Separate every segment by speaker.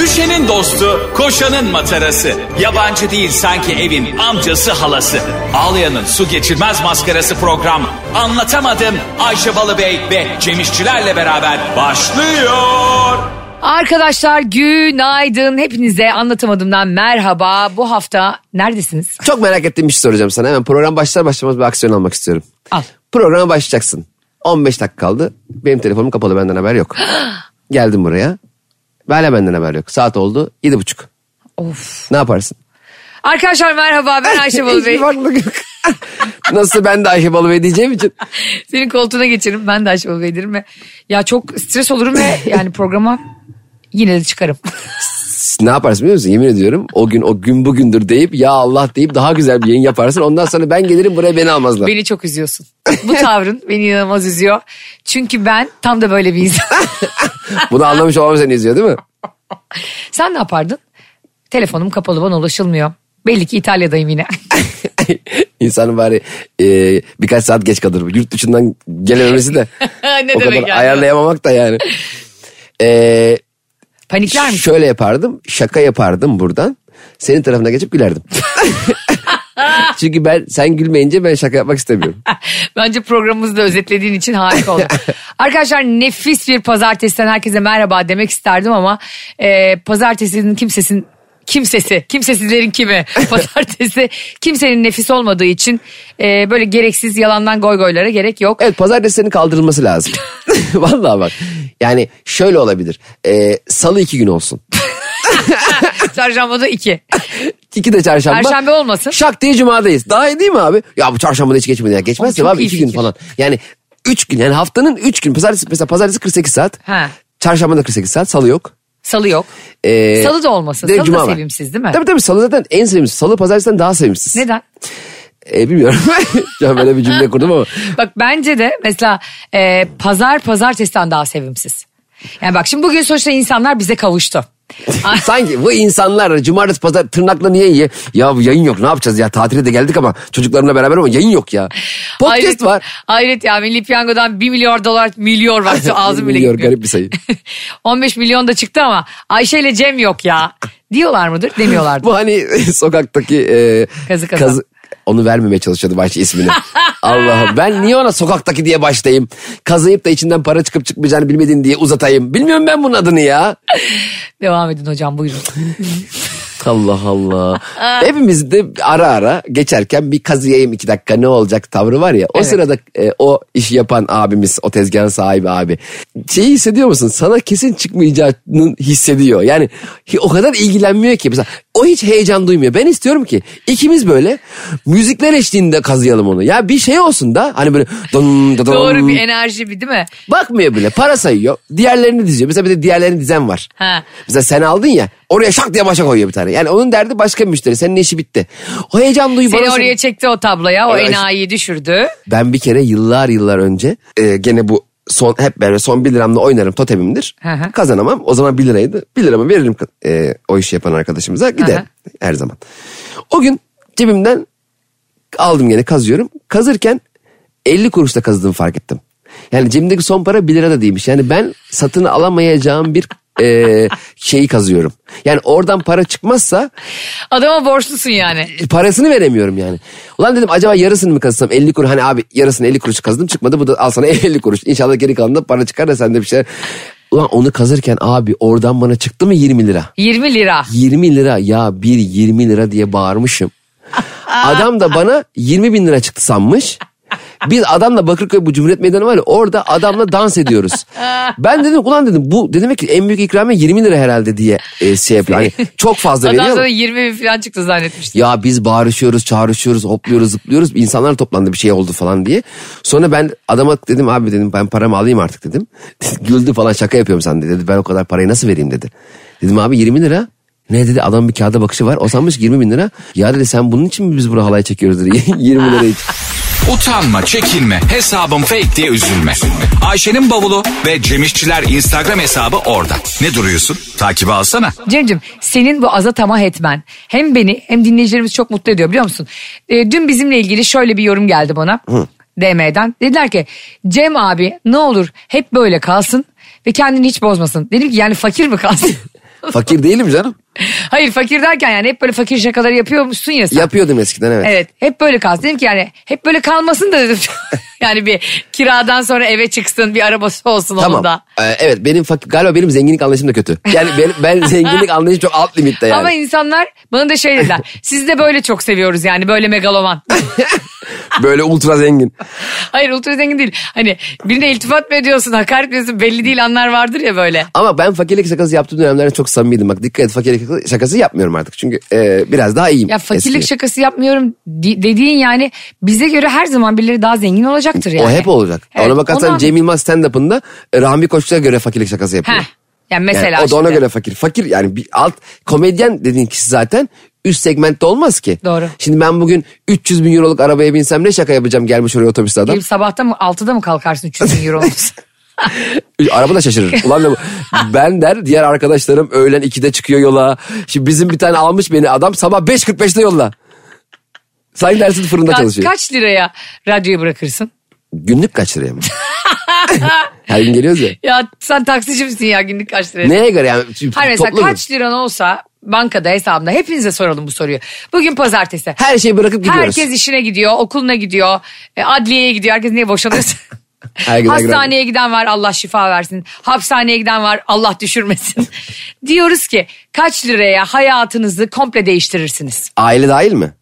Speaker 1: Ayşe'nin dostu, koşanın matarası. Yabancı değil sanki evin amcası halası. Ağlayan'ın su geçirmez maskarası program. Anlatamadım Ayşe Balıbey ve Cemişçilerle beraber başlıyor.
Speaker 2: Arkadaşlar günaydın. Hepinize anlatamadığımdan merhaba. Bu hafta neredesiniz?
Speaker 3: Çok merak ettiğim bir şey soracağım sana. Hemen program başlar başlamaz bir aksiyon almak istiyorum.
Speaker 2: Al.
Speaker 3: Programa başlayacaksın. 15 dakika kaldı. Benim telefonum kapalı benden haber yok. Geldim buraya. Hala benden haber yok. Saat oldu 7.30.
Speaker 2: Of.
Speaker 3: Ne yaparsın?
Speaker 2: Arkadaşlar merhaba ben Ayşe Balı Bey.
Speaker 3: Hiçbir farklılık yok. Nasıl ben de Ayşe Balıbey diyeceğim için.
Speaker 2: Senin koltuğuna geçerim ben de Ayşe Balı Bey derim ve ya çok stres olurum ve yani programa yine de çıkarım.
Speaker 3: Ne yaparsın biliyor musun? Yemin ediyorum o gün o gün bugündür deyip ya Allah deyip daha güzel bir yayın yaparsın. Ondan sonra ben gelirim buraya beni almazlar.
Speaker 2: beni çok üzüyorsun. Bu tavrın beni inanılmaz üzüyor. Çünkü ben tam da böyle bir insan.
Speaker 3: Bunu anlamış olmam seni izliyor değil mi?
Speaker 2: Sen ne yapardın? Telefonum kapalı bana ulaşılmıyor. Belli ki İtalya'dayım yine.
Speaker 3: İnsanın bari e, birkaç saat geç kalır. Yurt dışından gelememesi de
Speaker 2: Ne
Speaker 3: o kadar
Speaker 2: demek yani?
Speaker 3: ayarlayamamak da yani. E,
Speaker 2: Panikler misin?
Speaker 3: şöyle yapardım. Şaka yapardım buradan. Senin tarafına geçip gülerdim. Çünkü ben sen gülmeyince ben şaka yapmak istemiyorum.
Speaker 2: Bence programımızı da özetlediğin için harika oldu. Arkadaşlar nefis bir pazartesiden herkese merhaba demek isterdim ama e, pazartesinin kimsesin kimsesi, kimsesizlerin kimi pazartesi kimsenin nefis olmadığı için e, böyle gereksiz yalandan goygoylara gerek yok.
Speaker 3: Evet pazartesinin kaldırılması lazım. Vallahi bak. Yani şöyle olabilir. E, Salı iki gün olsun.
Speaker 2: Çarşamba da iki.
Speaker 3: İki de çarşamba.
Speaker 2: Perşembe olmasın.
Speaker 3: Şak diye cumadayız. Daha iyi değil mi abi? Ya bu çarşamba da hiç geçmedi. Ya. Geçmez
Speaker 2: Oğlum
Speaker 3: ya
Speaker 2: çok
Speaker 3: abi
Speaker 2: iyi
Speaker 3: iki gün
Speaker 2: fikir.
Speaker 3: falan. Yani üç gün yani haftanın üç gün. Pazartesi, mesela pazartesi 48 saat.
Speaker 2: Ha.
Speaker 3: Çarşamba da 48 saat. Salı yok.
Speaker 2: Salı yok.
Speaker 3: Ee,
Speaker 2: Salı da olmasın.
Speaker 3: bir de
Speaker 2: Salı
Speaker 3: cuma
Speaker 2: da
Speaker 3: var.
Speaker 2: sevimsiz değil mi?
Speaker 3: Tabii tabii salı zaten en sevimsiz. Salı pazartesinden daha sevimsiz.
Speaker 2: Neden?
Speaker 3: Ee, bilmiyorum. Şu an böyle bir cümle kurdum ama.
Speaker 2: Bak bence de mesela e, pazar pazartesiden daha sevimsiz. Yani bak şimdi bugün sonuçta insanlar bize kavuştu.
Speaker 3: Sanki bu insanlar cumartesi pazar tırnakla niye iyi? Ya bu yayın yok ne yapacağız ya tatile de geldik ama çocuklarımla beraber ama yayın yok ya. Podcast
Speaker 2: Hayret-
Speaker 3: var.
Speaker 2: Hayret ya Milli Piyango'dan 1 milyar dolar milyar var. Şu Ağzım bile
Speaker 3: Milyar,
Speaker 2: gitmiyor.
Speaker 3: garip bir sayı.
Speaker 2: 15 milyon da çıktı ama Ayşe ile Cem yok ya. Diyorlar mıdır? Demiyorlardır.
Speaker 3: Bu hani sokaktaki e,
Speaker 2: Kazı kazan.
Speaker 3: onu vermemeye çalışıyordu başta ismini. Allah'ım ben niye ona sokaktaki diye başlayayım? Kazıyıp da içinden para çıkıp çıkmayacağını bilmediğin diye uzatayım. Bilmiyorum ben bunun adını ya.
Speaker 2: Devam edin hocam buyurun.
Speaker 3: Allah Allah. Hepimiz de ara ara geçerken bir kazıyayım iki dakika ne olacak tavrı var ya. O
Speaker 2: Evet.
Speaker 3: sırada e, o işi yapan abimiz, o tezgahın sahibi abi. Şeyi hissediyor musun? Sana kesin çıkmayacağını hissediyor. Yani hi- o kadar ilgilenmiyor ki. Mesela o hiç heyecan duymuyor. Ben istiyorum ki ikimiz böyle müzikler eşliğinde kazıyalım onu. Ya bir şey olsun da hani böyle dın, dın, dın.
Speaker 2: Doğru bir enerji bir değil mi?
Speaker 3: Bakmıyor bile para sayıyor. Diğerlerini diziyor. Mesela bir de diğerlerini dizen var.
Speaker 2: Ha.
Speaker 3: Mesela sen aldın ya oraya şak diye başa koyuyor bir tane. Yani onun derdi başka bir müşteri. Senin işi bitti. O heyecan duyu
Speaker 2: Seni
Speaker 3: bana
Speaker 2: oraya çekti o tabloya. O
Speaker 3: Ay-
Speaker 2: enayiyi düşürdü.
Speaker 3: Ben bir kere yıllar yıllar önce e, gene bu son hep böyle son 1 liramla oynarım totemimdir.
Speaker 2: Hı hı.
Speaker 3: Kazanamam. O zaman 1 liraydı. 1 liramı veririm e, o işi yapan arkadaşımıza. Gider
Speaker 2: hı.
Speaker 3: her zaman. O gün cebimden aldım gene kazıyorum. Kazırken 50 kuruşla kazdığımı fark ettim. Yani cebimdeki son para 1 lira da değilmiş. Yani ben satın alamayacağım bir e, şeyi kazıyorum. Yani oradan para çıkmazsa
Speaker 2: Adama borçlusun yani.
Speaker 3: E, parasını veremiyorum yani. Ulan dedim acaba yarısını mı kazsam 50 kuruş hani abi yarısını 50 kuruş kazdım çıkmadı bu da al sana 50 kuruş. İnşallah geri kalanında para çıkar da sende bir şeyler. Ulan onu kazırken abi oradan bana çıktı mı 20 lira?
Speaker 2: 20 lira.
Speaker 3: 20 lira ya bir 20 lira diye bağırmışım. Adam da bana 20 bin lira çıktı sanmış. Biz adamla Bakırköy bu Cumhuriyet Meydanı var ya orada adamla dans ediyoruz. Ben dedim ulan dedim bu demek ki en büyük ikramiye 20 lira herhalde diye e, şey yapıyor. Hani çok fazla veriyor.
Speaker 2: Ondan
Speaker 3: ama-
Speaker 2: sonra 20 bin falan çıktı zannetmiştim.
Speaker 3: ya biz bağırışıyoruz, çağrışıyoruz, hopluyoruz, zıplıyoruz. İnsanlar toplandı bir şey oldu falan diye. Sonra ben adama dedim abi dedim ben paramı alayım artık dedim. Güldü falan şaka yapıyorum sen dedi. Dedi, Ben o kadar parayı nasıl vereyim dedi. Dedim abi 20 lira. Ne dedi adam bir kağıda bakışı var. O sanmış ki 20 bin lira. Ya dedi sen bunun için mi biz buraya halay çekiyoruz dedi. 20 lira için.
Speaker 1: Utanma, çekinme, hesabım fake diye üzülme. Ayşe'nin bavulu ve Cemişçiler Instagram hesabı orada. Ne duruyorsun? Takibi alsana.
Speaker 2: Cem'cim senin bu aza tamah etmen hem beni hem dinleyicilerimizi çok mutlu ediyor biliyor musun? Ee, dün bizimle ilgili şöyle bir yorum geldi bana DM'den. Dediler ki Cem abi ne olur hep böyle kalsın ve kendini hiç bozmasın. Dedim ki yani fakir mi kalsın?
Speaker 3: Fakir değilim canım.
Speaker 2: Hayır fakir derken yani hep böyle fakir şakaları yapıyormuşsun ya sen.
Speaker 3: Yapıyordum eskiden evet.
Speaker 2: Evet hep böyle kalsın. Dedim ki yani hep böyle kalmasın da dedim. yani bir kiradan sonra eve çıksın bir arabası olsun onun da.
Speaker 3: Ee, evet benim fak- galiba benim zenginlik anlayışım da kötü. Yani ben, ben zenginlik anlayışım çok alt limitte yani.
Speaker 2: Ama insanlar bana da şey dediler. Sizi de böyle çok seviyoruz yani böyle megaloman.
Speaker 3: Böyle ultra zengin.
Speaker 2: Hayır ultra zengin değil. Hani birine iltifat mı ediyorsun hakaret mi ediyorsun belli değil anlar vardır ya böyle.
Speaker 3: Ama ben fakirlik şakası yaptığım dönemlerde çok samimiydim. Bak dikkat et fakirlik şakası yapmıyorum artık. Çünkü e, biraz daha iyiyim.
Speaker 2: Ya fakirlik
Speaker 3: eskiye.
Speaker 2: şakası yapmıyorum di- dediğin yani bize göre her zaman birileri daha zengin olacaktır yani.
Speaker 3: O hep olacak.
Speaker 2: Evet,
Speaker 3: Ona bakarsan
Speaker 2: ondan-
Speaker 3: Cem Yılmaz stand-up'ında Rami Koç'a göre fakirlik şakası yapıyor.
Speaker 2: Heh. Yani mesela
Speaker 3: Yani o da ona
Speaker 2: şimdi.
Speaker 3: göre fakir. Fakir yani bir alt komedyen dediğin kişi zaten üst segmentte olmaz ki.
Speaker 2: Doğru.
Speaker 3: Şimdi ben bugün 300 bin euroluk arabaya binsem ne şaka yapacağım gelmiş oraya otobüste adam.
Speaker 2: Gelip sabahta mı 6'da mı kalkarsın 300 bin euro?
Speaker 3: Araba da şaşırır. Ulan ne bu? ben der diğer arkadaşlarım öğlen 2'de çıkıyor yola. Şimdi bizim bir tane almış beni adam sabah 5.45'te yolla. Sanki dersin fırında
Speaker 2: Ka-
Speaker 3: çalışıyor.
Speaker 2: kaç liraya radyoyu bırakırsın?
Speaker 3: Günlük kaç liraya mı? Her gün geliyoruz ya.
Speaker 2: Ya sen taksici misin ya günlük kaç liraya?
Speaker 3: Neye göre yani?
Speaker 2: Hayır mesela
Speaker 3: Toplu mu?
Speaker 2: kaç liran olsa bankada hesabında hepinize soralım bu soruyu. Bugün pazartesi.
Speaker 3: Her şeyi bırakıp gidiyoruz.
Speaker 2: Herkes işine gidiyor, okuluna gidiyor, e, adliyeye gidiyor. Herkes niye boşanıyorsa.
Speaker 3: Herkes
Speaker 2: Hastaneye giden var Allah şifa versin. Hapishaneye giden var Allah düşürmesin. Diyoruz ki kaç liraya hayatınızı komple değiştirirsiniz?
Speaker 3: Aile dahil mi?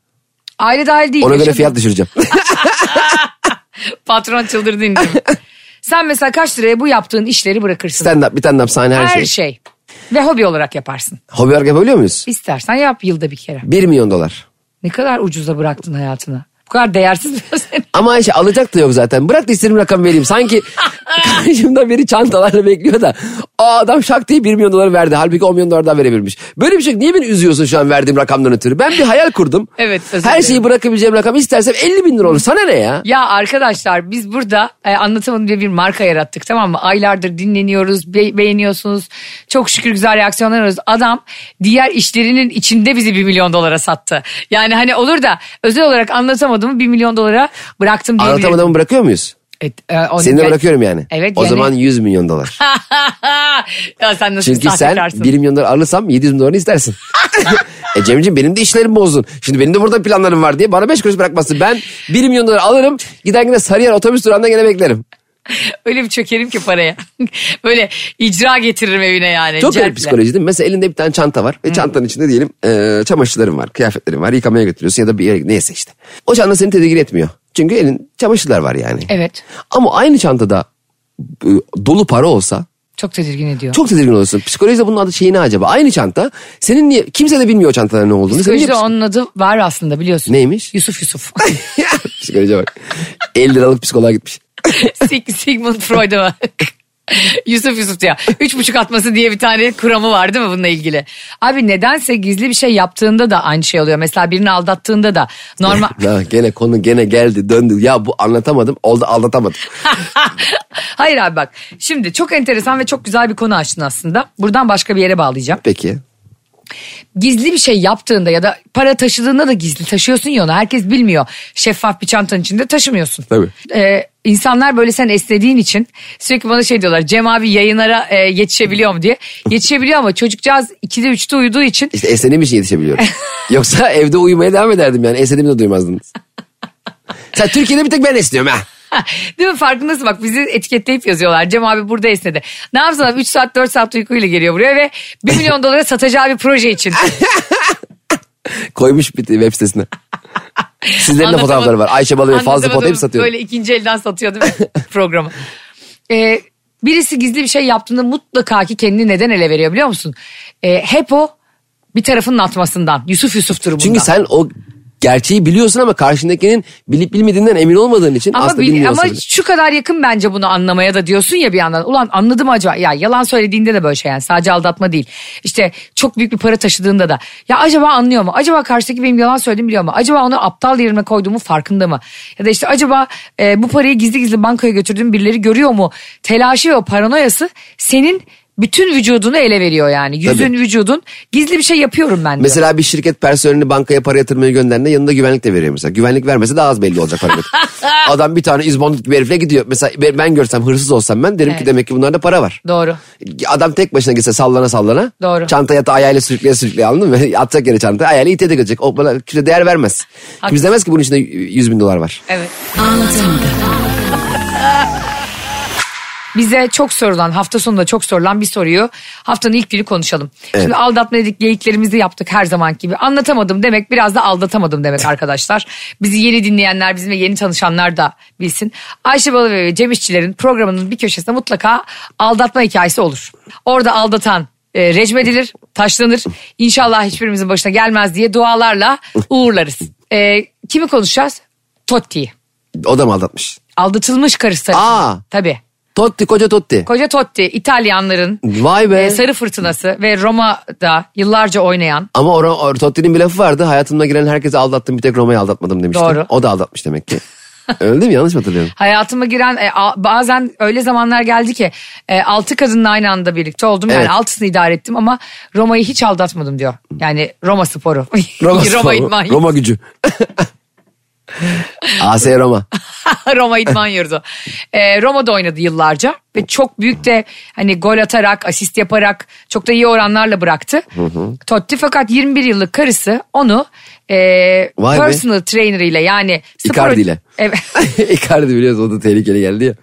Speaker 2: Aile dahil değil.
Speaker 3: Ona göre
Speaker 2: yaşadığınız-
Speaker 3: fiyat düşüreceğim.
Speaker 2: Patron çıldırdı indim. Sen mesela kaç liraya bu yaptığın işleri bırakırsın?
Speaker 3: stand up, bir stand up sahne her,
Speaker 2: Her
Speaker 3: şey.
Speaker 2: şey. Ve hobi olarak yaparsın.
Speaker 3: Hobi olarak yapabiliyor muyuz?
Speaker 2: İstersen yap yılda bir kere.
Speaker 3: 1 milyon dolar.
Speaker 2: Ne kadar ucuza bıraktın hayatını. Bu kadar değersiz mi senin?
Speaker 3: Ama Ayşe alacak da yok zaten. Bırak da istediğim rakamı vereyim. Sanki karşımda biri çantalarla bekliyor da. Aa adam şak diye 1 milyon doları verdi. Halbuki 10 milyon dolar daha verebilmiş. Böyle bir şey niye beni üzüyorsun şu an verdiğim rakamdan ötürü? Ben bir hayal kurdum.
Speaker 2: Evet, özür
Speaker 3: Her şeyi
Speaker 2: dilerim.
Speaker 3: bırakabileceğim rakam istersem 50 bin lira olur. Sana ne ya?
Speaker 2: Ya arkadaşlar biz burada e, anlatamadım diye bir marka yarattık tamam mı? Aylardır dinleniyoruz, be- beğeniyorsunuz. Çok şükür güzel reaksiyonlar alıyoruz. Adam diğer işlerinin içinde bizi 1 milyon dolara sattı. Yani hani olur da özel olarak anlatamadığımı 1 milyon dolara bıraktım diyebilirim.
Speaker 3: Anlatamadığımı bırakıyor muyuz?
Speaker 2: Evet, e, onu-
Speaker 3: Seni de bırakıyorum yani.
Speaker 2: Evet
Speaker 3: o
Speaker 2: yani-
Speaker 3: zaman 100 milyon dolar.
Speaker 2: ya sen nasıl
Speaker 3: Çünkü sen
Speaker 2: sahtekarsın?
Speaker 3: 1 milyon dolar alırsam 700 bin dolarını istersin. e Cemciğim benim de işlerim bozdun. Şimdi benim de burada planlarım var diye bana 5 kuruş bırakmazsın. Ben 1 milyon dolar alırım gider yine Sarıyer otobüs durağında gene beklerim.
Speaker 2: Öyle bir çökerim ki paraya. Böyle icra getiririm evine yani.
Speaker 3: Çok garip
Speaker 2: cerple.
Speaker 3: psikoloji değil mi? Mesela elinde bir tane çanta var ve çantanın içinde diyelim e, çamaşırların var, kıyafetlerin var, yıkamaya götürüyorsun ya da bir yere neyse işte. O çanta seni tedirgin etmiyor. Çünkü elin çamaşırlar var yani.
Speaker 2: Evet.
Speaker 3: Ama aynı çantada e, dolu para olsa
Speaker 2: Çok tedirgin ediyor.
Speaker 3: çok tedirgin olursun. Psikolojide bunun adı şey ne acaba? Aynı çanta senin niye kimse de bilmiyor o çantaların ne olduğunu. Senin niye
Speaker 2: Psikolojide onun adı var aslında biliyorsun.
Speaker 3: Neymiş?
Speaker 2: Yusuf Yusuf.
Speaker 3: Psikolojiye bak. 50 liralık psikoloğa gitmiş.
Speaker 2: Sig- Sigmund Freud'a bak. Yusuf Yusuf ya. Üç buçuk atması diye bir tane kuramı var değil mi bununla ilgili? Abi nedense gizli bir şey yaptığında da aynı şey oluyor. Mesela birini aldattığında da normal...
Speaker 3: Ha, gene konu gene geldi döndü. Ya bu anlatamadım oldu aldatamadım.
Speaker 2: Hayır abi bak. Şimdi çok enteresan ve çok güzel bir konu açtın aslında. Buradan başka bir yere bağlayacağım.
Speaker 3: Peki.
Speaker 2: gizli bir şey yaptığında ya da para taşıdığında da gizli taşıyorsun ya onu. Herkes bilmiyor. Şeffaf bir çantanın içinde taşımıyorsun.
Speaker 3: Tabii.
Speaker 2: Ee, insanlar böyle sen esnediğin için sürekli bana şey diyorlar. Cem abi yayınlara e, yetişebiliyor mu diye. Yetişebiliyor ama çocukcağız 2'de 3'te uyuduğu için
Speaker 3: İşte esnediğim için yetişebiliyorum. Yoksa evde uyumaya devam ederdim yani. Esnediğimi de duymazdınız. Sen Türkiye'de bir tek ben esniyorum ha.
Speaker 2: Değil mi farkındasın bak bizi etiketleyip yazıyorlar. Cem abi burada esnedi. Ne yapsın abi 3 saat 4 saat uykuyla geliyor buraya ve 1 milyon dolara satacağı bir proje için.
Speaker 3: Koymuş bir web sitesine. Sizlerin de
Speaker 2: Anlatamadım.
Speaker 3: fotoğrafları var. Ayşe Balı ve Fazlı
Speaker 2: Anlatamadım.
Speaker 3: Potu hep satıyor.
Speaker 2: Böyle ikinci elden satıyor değil mi programı? Ee, birisi gizli bir şey yaptığında mutlaka ki kendini neden ele veriyor biliyor musun? Ee, hep o bir tarafının atmasından. Yusuf Yusuf'tur bundan.
Speaker 3: Çünkü sen o gerçeği biliyorsun ama karşındakinin bilip bilmediğinden emin olmadığın için
Speaker 2: ama,
Speaker 3: aslında
Speaker 2: bil-
Speaker 3: bilmiyorsun.
Speaker 2: ama şu kadar yakın bence bunu anlamaya da diyorsun ya bir yandan. Ulan anladım acaba. Ya yalan söylediğinde de böyle şey yani. Sadece aldatma değil. İşte çok büyük bir para taşıdığında da. Ya acaba anlıyor mu? Acaba karşıdaki benim yalan söylediğimi biliyor mu? Acaba onu aptal yerime koyduğumu farkında mı? Ya da işte acaba e, bu parayı gizli gizli bankaya götürdüğüm birileri görüyor mu? Telaşı ve o paranoyası senin bütün vücudunu ele veriyor yani. Yüzün,
Speaker 3: Tabii.
Speaker 2: vücudun gizli bir şey yapıyorum ben diyor.
Speaker 3: Mesela bir şirket personelini bankaya para yatırmaya gönderdiğinde yanında güvenlik de veriyor mesela. Güvenlik vermese daha az belli olacak para. Adam bir tane izbondut bir herifle gidiyor. Mesela ben- ben görsem hırsız olsam ben derim
Speaker 2: Evet.
Speaker 3: ki demek ki bunlarda para var.
Speaker 2: Doğru.
Speaker 3: Adam tek başına gitse sallana sallana.
Speaker 2: Doğru.
Speaker 3: Çantaya da ayağıyla sürükleye sürükleye anladın mı? Atacak yere çantayı ayağıyla ite de gidecek. O bana kimse değer vermez. Kimse demez ki bunun içinde 100 bin dolar var.
Speaker 2: Evet. Bize çok sorulan hafta sonunda çok sorulan bir soruyu haftanın ilk günü konuşalım. Şimdi aldatma dedik geyiklerimizi yaptık her zaman gibi. Anlatamadım demek biraz da aldatamadım demek arkadaşlar. Bizi yeni dinleyenler bizimle yeni tanışanlar da bilsin. Ayşe Balı ve Cem İşçilerin programının bir köşesinde mutlaka aldatma hikayesi olur. Orada aldatan e, rejim edilir, taşlanır. İnşallah hiçbirimizin başına gelmez diye dualarla uğurlarız. E, kimi konuşacağız? Totti'yi.
Speaker 3: O da mı aldatmış?
Speaker 2: Aldatılmış karısı tarafından.
Speaker 3: Aa.
Speaker 2: Tabii.
Speaker 3: Totti koca Totti.
Speaker 2: Koca Totti İtalyanların
Speaker 3: Vay be.
Speaker 2: e, Sarı Fırtınası ve Roma'da yıllarca oynayan
Speaker 3: Ama or, or, Totti'nin bir lafı vardı. Hayatıma giren herkesi aldattım bir tek Roma'yı aldatmadım demişti.
Speaker 2: Doğru.
Speaker 3: O da aldatmış demek ki. Öyle değil mi? Yanlış mı hatırlıyorum?
Speaker 2: hayatıma giren e, a- bazen öyle zamanlar geldi ki e, altı kadınla aynı anda birlikte oldum. Yani
Speaker 3: Evet.
Speaker 2: altısını idare ettim ama Roma'yı hiç aldatmadım diyor. Yani Roma sporu. Roma
Speaker 3: Roma, sporu,
Speaker 2: idman,
Speaker 3: Roma gücü. AS Roma.
Speaker 2: Roma idman yurdu. E, Roma'da oynadı yıllarca ve çok büyük de hani gol atarak, asist yaparak çok da iyi oranlarla bıraktı. Totti fakat 21 yıllık karısı onu e,
Speaker 3: Vay be.
Speaker 2: personal trainer ile yani spor-
Speaker 3: Icardi ile.
Speaker 2: Evet.
Speaker 3: Icardi biliyorsun o da tehlikeli geldi ya.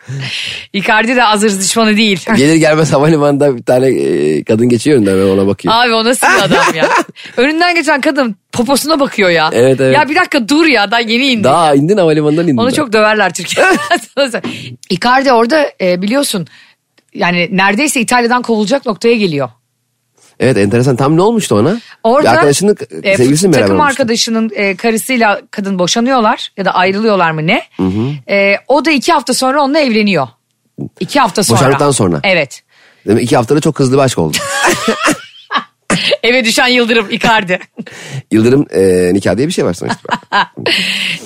Speaker 2: Icardi de azır düşmanı değil.
Speaker 3: Gelir gelmez havalimanında bir tane e, kadın geçiyor önünden ben ona bakıyor.
Speaker 2: Abi o nasıl bir adam ya? Önünden geçen kadın poposuna bakıyor ya.
Speaker 3: Evet, evet.
Speaker 2: Ya bir dakika dur ya daha yeni indi.
Speaker 3: Daha indin havalimanından indin.
Speaker 2: Onu
Speaker 3: daha.
Speaker 2: çok döverler Türkiye'de. Icardi orada e, biliyorsun yani neredeyse İtalya'dan kovulacak noktaya geliyor.
Speaker 3: Evet enteresan tam ne olmuştu ona?
Speaker 2: Orada
Speaker 3: bir arkadaşının
Speaker 2: e,
Speaker 3: sevgilisi mi beraber
Speaker 2: takım
Speaker 3: olmuştu?
Speaker 2: arkadaşının e, karısıyla kadın boşanıyorlar ya da ayrılıyorlar mı ne? E, o da iki hafta sonra onunla evleniyor. İki hafta sonra.
Speaker 3: Boşandıktan sonra.
Speaker 2: Evet.
Speaker 3: Demek iki haftada çok hızlı bir aşk oldu.
Speaker 2: Eve düşen Yıldırım Icardi.
Speaker 3: Yıldırım e, nikah diye bir şey var sonuçta.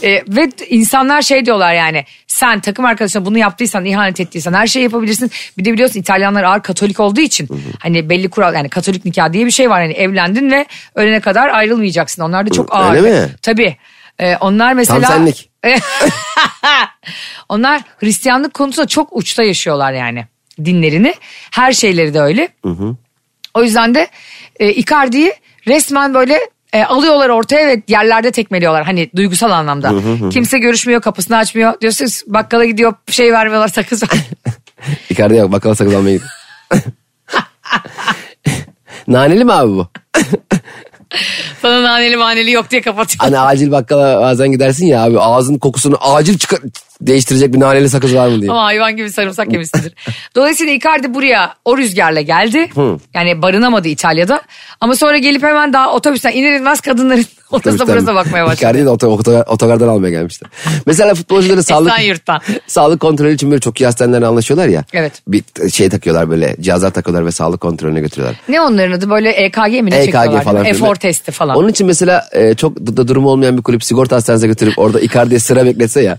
Speaker 2: E, ve insanlar şey diyorlar yani sen takım arkadaşına bunu yaptıysan ihanet ettiysen her şeyi yapabilirsin. Bir de biliyorsun İtalyanlar ağır katolik olduğu için hani belli kural yani katolik nikah diye bir şey var. Hani evlendin ve ölene kadar ayrılmayacaksın. Onlar da çok
Speaker 3: Hı,
Speaker 2: ağır.
Speaker 3: öyle mi?
Speaker 2: Tabii. E, onlar mesela.
Speaker 3: senlik.
Speaker 2: onlar Hristiyanlık konusunda çok uçta yaşıyorlar yani dinlerini. Her şeyleri de öyle. O yüzden de e, Icardi'yi resmen böyle e, alıyorlar ortaya ve yerlerde tekmeliyorlar. Hani duygusal anlamda. Kimse görüşmüyor, kapısını açmıyor. Diyorsunuz bakkala gidiyor, şey vermiyorlar, sakız var.
Speaker 3: Icardi yok bakkala sakız almaya gidiyor. Naneli mi abi bu?
Speaker 2: Sana naneli maneli yok diye kapatıyor.
Speaker 3: Hani acil bakkala bazen gidersin ya abi ağzın kokusunu acil çıkar değiştirecek bir naneli sakız var mı diye.
Speaker 2: Ama hayvan gibi sarımsak yemişsindir. Dolayısıyla Icardi buraya o rüzgarla geldi. Yani barınamadı İtalya'da. Ama sonra gelip hemen daha otobüsten iner inmez kadınların ortasına burasına bakmaya başladı.
Speaker 3: Icardi'yi hani de oto- oto- otogardan almaya gelmişler. Mesela futbolcuları sağlık,
Speaker 2: Esenyurt'tan.
Speaker 3: sağlık kontrolü için böyle çok iyi hastanelerle anlaşıyorlar ya.
Speaker 2: Evet.
Speaker 3: Bir t- şey takıyorlar böyle cihazlar takıyorlar ve sağlık kontrolüne götürüyorlar.
Speaker 2: Ne onların adı böyle EKG mi ne
Speaker 3: EKG
Speaker 2: çekiyorlar?
Speaker 3: E falan.
Speaker 2: Efor testi falan.
Speaker 3: Onun için mesela e, çok da, da durumu olmayan bir kulüp sigorta hastanesine götürüp orada Icardi'ye sıra bekletse ya.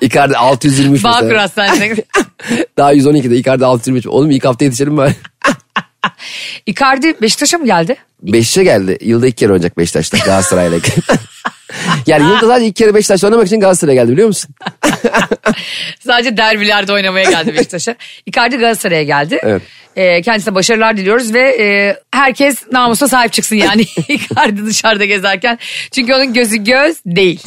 Speaker 3: Icardi 623
Speaker 2: Bağkur
Speaker 3: mesela.
Speaker 2: Hastanesi'ne.
Speaker 3: Daha 112'de Icardi 623. Oğlum ilk hafta yetişelim bari.
Speaker 2: Icardi Beşiktaş'a mı geldi?
Speaker 3: Beşiktaş'a geldi. Yılda iki kere oynayacak Beşiktaş'ta Galatasaray'la. yani yılda sadece iki kere Beşiktaş'ta oynamak için Galatasaray'a geldi biliyor musun?
Speaker 2: Sadece derbilerde oynamaya geldi Beşiktaş'a. Icardi Galatasaray'a geldi.
Speaker 3: Evet.
Speaker 2: Ee, kendisine başarılar diliyoruz ve e, herkes namusa sahip çıksın yani Icardi dışarıda gezerken. Çünkü onun gözü göz değil.